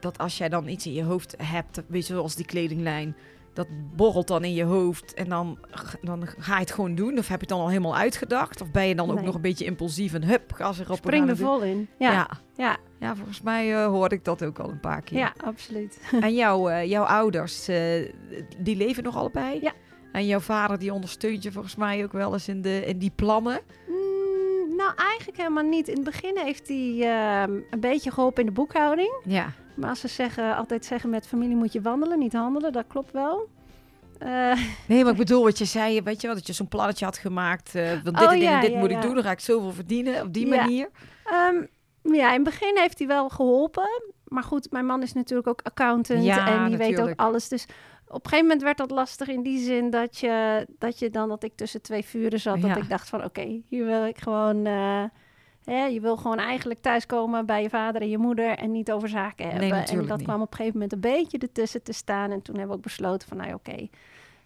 dat als jij dan iets in je hoofd hebt, weet je, zoals die kledinglijn, dat borrelt dan in je hoofd en dan, dan ga je het gewoon doen? Of heb je het dan al helemaal uitgedacht? Of ben je dan ook Nee. nog een beetje impulsief en hup, gas erop. we Spring gaan er het doen? vol in. ja. Ja. ja. ja, volgens mij eh, hoorde ik dat ook al een paar keer. Ja, absoluut. En jouw, eh, jouw ouders, eh, die leven nog allebei? Ja. En jouw vader, die ondersteunt je volgens mij ook wel eens in, de, in die plannen? Mm, nou, eigenlijk helemaal niet. In het begin heeft hij ehm, een beetje geholpen in de boekhouding. Ja. Maar als ze zeggen, altijd zeggen met familie moet je wandelen, niet handelen, dat klopt wel. Eh, Nee, maar ik bedoel wat je zei, weet je wel, dat je zo'n plannetje had gemaakt. eh want dit Oh, en dit, en ja, dit ja, moet ja. ik doen, dan ga ik zoveel verdienen op die Ja. manier. ehm, ja, in het begin heeft hij wel geholpen. Maar goed, mijn man is natuurlijk ook accountant Ja, en die weet ook natuurlijk. alles. Dus op een gegeven moment werd dat lastig in die zin dat je, dat je dan, dat ik tussen twee vuren zat, Ja. dat ik dacht van oké, hier wil ik gewoon... eh, hè, je wil gewoon eigenlijk thuiskomen bij je vader en je moeder en niet over zaken hebben. en natuurlijk dat niet. kwam op een gegeven moment een beetje ertussen te staan. En toen hebben we ook besloten van, nou ja, oké,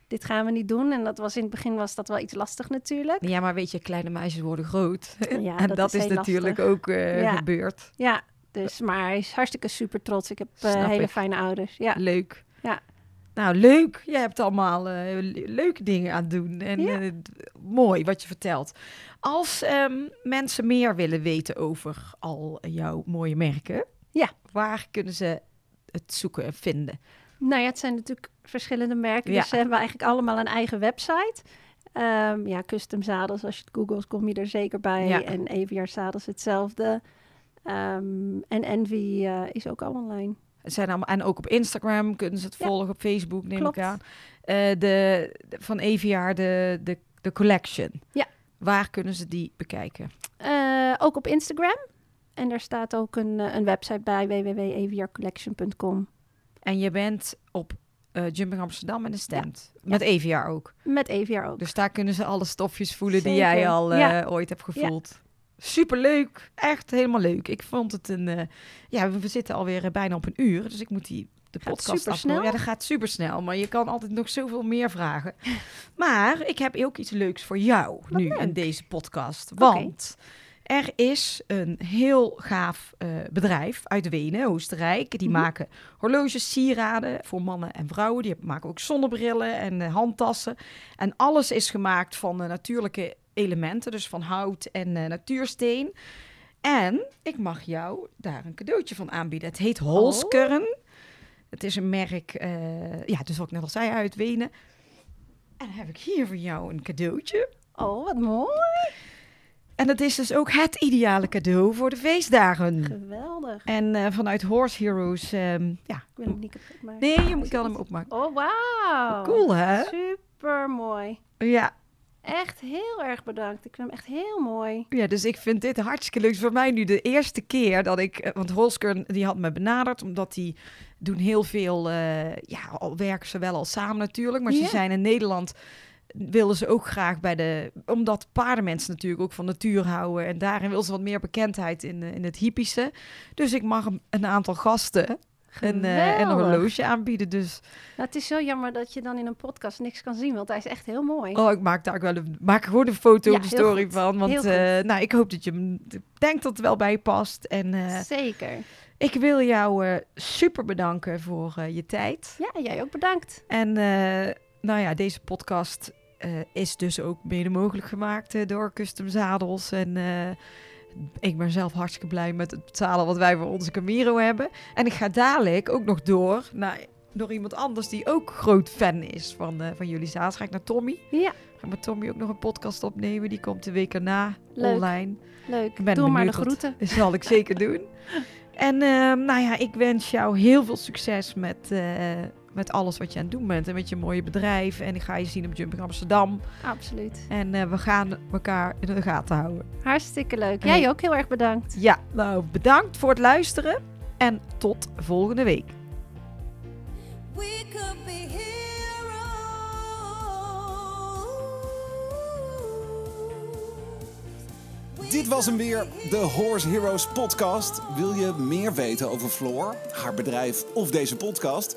dit gaan we niet doen. En dat was in het begin was dat wel iets lastig natuurlijk. Ja, maar weet je, kleine meisjes worden groot. Ja, en dat, is, heel natuurlijk lastig. ook eh, Ja. gebeurd. Ja, dus, maar hij is hartstikke super trots. Ik heb eh, Snap hele ik. fijne ouders. Ja, Leuk. Ja. Nou, leuk. Jij hebt allemaal eh, le- leuke dingen aan het doen. En Ja. eh, d- mooi wat je vertelt. Als ehm, mensen meer willen weten over al jouw mooie merken, Ja. waar kunnen ze het zoeken en vinden? nou ja, het zijn natuurlijk verschillende merken. Ja. Dus ze hebben eigenlijk allemaal een eigen website. Ehm, ja, Custom Zadels, als je het googelt, kom je er zeker bij. Ja. En EVR Zadels hetzelfde. Ehm, en Envy eh, is ook al online. Het zijn allemaal, en ook op Instagram kunnen ze het Ja. volgen, op Facebook neem Klopt. ik aan. Eh, de, de- van EVR, de, de, de collection. Ja. Waar kunnen ze die bekijken? Eh, ook op Instagram. En daar staat ook een, eh, een website bij, www.evrcollection.com. En je bent op eh, Jumping Amsterdam en de stand. Met EVR ook. Met EVR ook. Dus daar kunnen ze alle stofjes voelen die Zeker. jij al eh, Ja. ooit hebt gevoeld. Superleuk. Echt helemaal leuk. Ik vond het een... eh, ja, we we zitten alweer eh, bijna op een uur. Dus ik moet die, de Gaat podcast supersnel. afmaken. Ja, dat gaat supersnel. Maar je kan altijd nog zoveel meer vragen. maar ik heb ook iets leuks voor jou nu in leuk. deze podcast. Want... Er is een heel gaaf eh, bedrijf uit Wenen, Oostenrijk. Die Mhm. maken horloges, sieraden voor mannen en vrouwen. Die maken ook zonnebrillen en eh, handtassen. En alles is gemaakt van eh, natuurlijke elementen, dus van hout en eh, natuursteen. En ik mag jou daar een cadeautje van aanbieden. Het heet Holskern. Het is een merk, eh, ja, dus wat ik net al zei, uit Wenen. En dan heb ik hier voor jou een cadeautje. Oh, wat mooi. En dat is dus ook het ideale cadeau voor de feestdagen. Geweldig. En eh, vanuit Horse Heroes, ehm, ja. Ik wil hem niet kapot maken. Nee, je moet- kan hem opmaken. Oh, wauw. Cool, hè? Super mooi. Ja, Echt heel erg bedankt. Ik vind hem echt heel mooi. Ja, dus ik vind dit hartstikke leuk. Het is Voor mij nu de eerste keer dat ik... eh, Want Holskern, die had me benaderd, omdat die doen heel veel... eh, ja, al werken ze wel al samen natuurlijk. Maar Ja. ze zijn in Nederland... Willen ze ook graag bij de... Omdat paardenmensen natuurlijk ook van natuur houden. En daarin wil ze wat meer bekendheid in, eh, in het hippische. Dus ik mag hem een aantal gasten een, eh, een Geweldig. horloge aanbieden. Dus Nou, het is zo jammer dat je dan in een podcast niks kan zien, want hij is echt heel mooi. oh, ik maak daar ook wel een, maak er gewoon een foto Ja, op de heel story goed. van. Want Heel goed. eh, nou, ik hoop dat je hem... ik denk dat het wel bij je past. En, eh, Zeker. Ik wil jou eh, super bedanken voor eh, je tijd. Ja, jij ook bedankt. En eh, nou ja, deze podcast eh, is dus ook mede mogelijk gemaakt eh, door Custom Zadels. En eh, ik ben zelf hartstikke blij met het betalen wat wij voor onze Camiro hebben. En ik ga dadelijk ook nog door naar door iemand anders die ook groot fan is van, eh, van jullie zaad. Ga ik naar Tommy. Ja, Ga ik met Tommy ook nog een podcast opnemen. Die komt de week erna Leuk. online. leuk. Ik ben Doe maar de benieuwd wat- groeten. Dat zal ik zeker doen. En ehm, nou ja, ik wens jou heel veel succes met, eh, met alles wat je aan het doen bent. En met je mooie bedrijf. En ik ga je zien op Jumping Amsterdam. Absoluut. En eh, we gaan elkaar in de gaten houden. Hartstikke leuk. En- Jij ook heel erg bedankt. Ja, nou bedankt voor het luisteren. En tot volgende week. We could be heroes. Dit was hem weer, de Horse Heroes podcast. Wil je meer weten over Floor, haar bedrijf of deze podcast?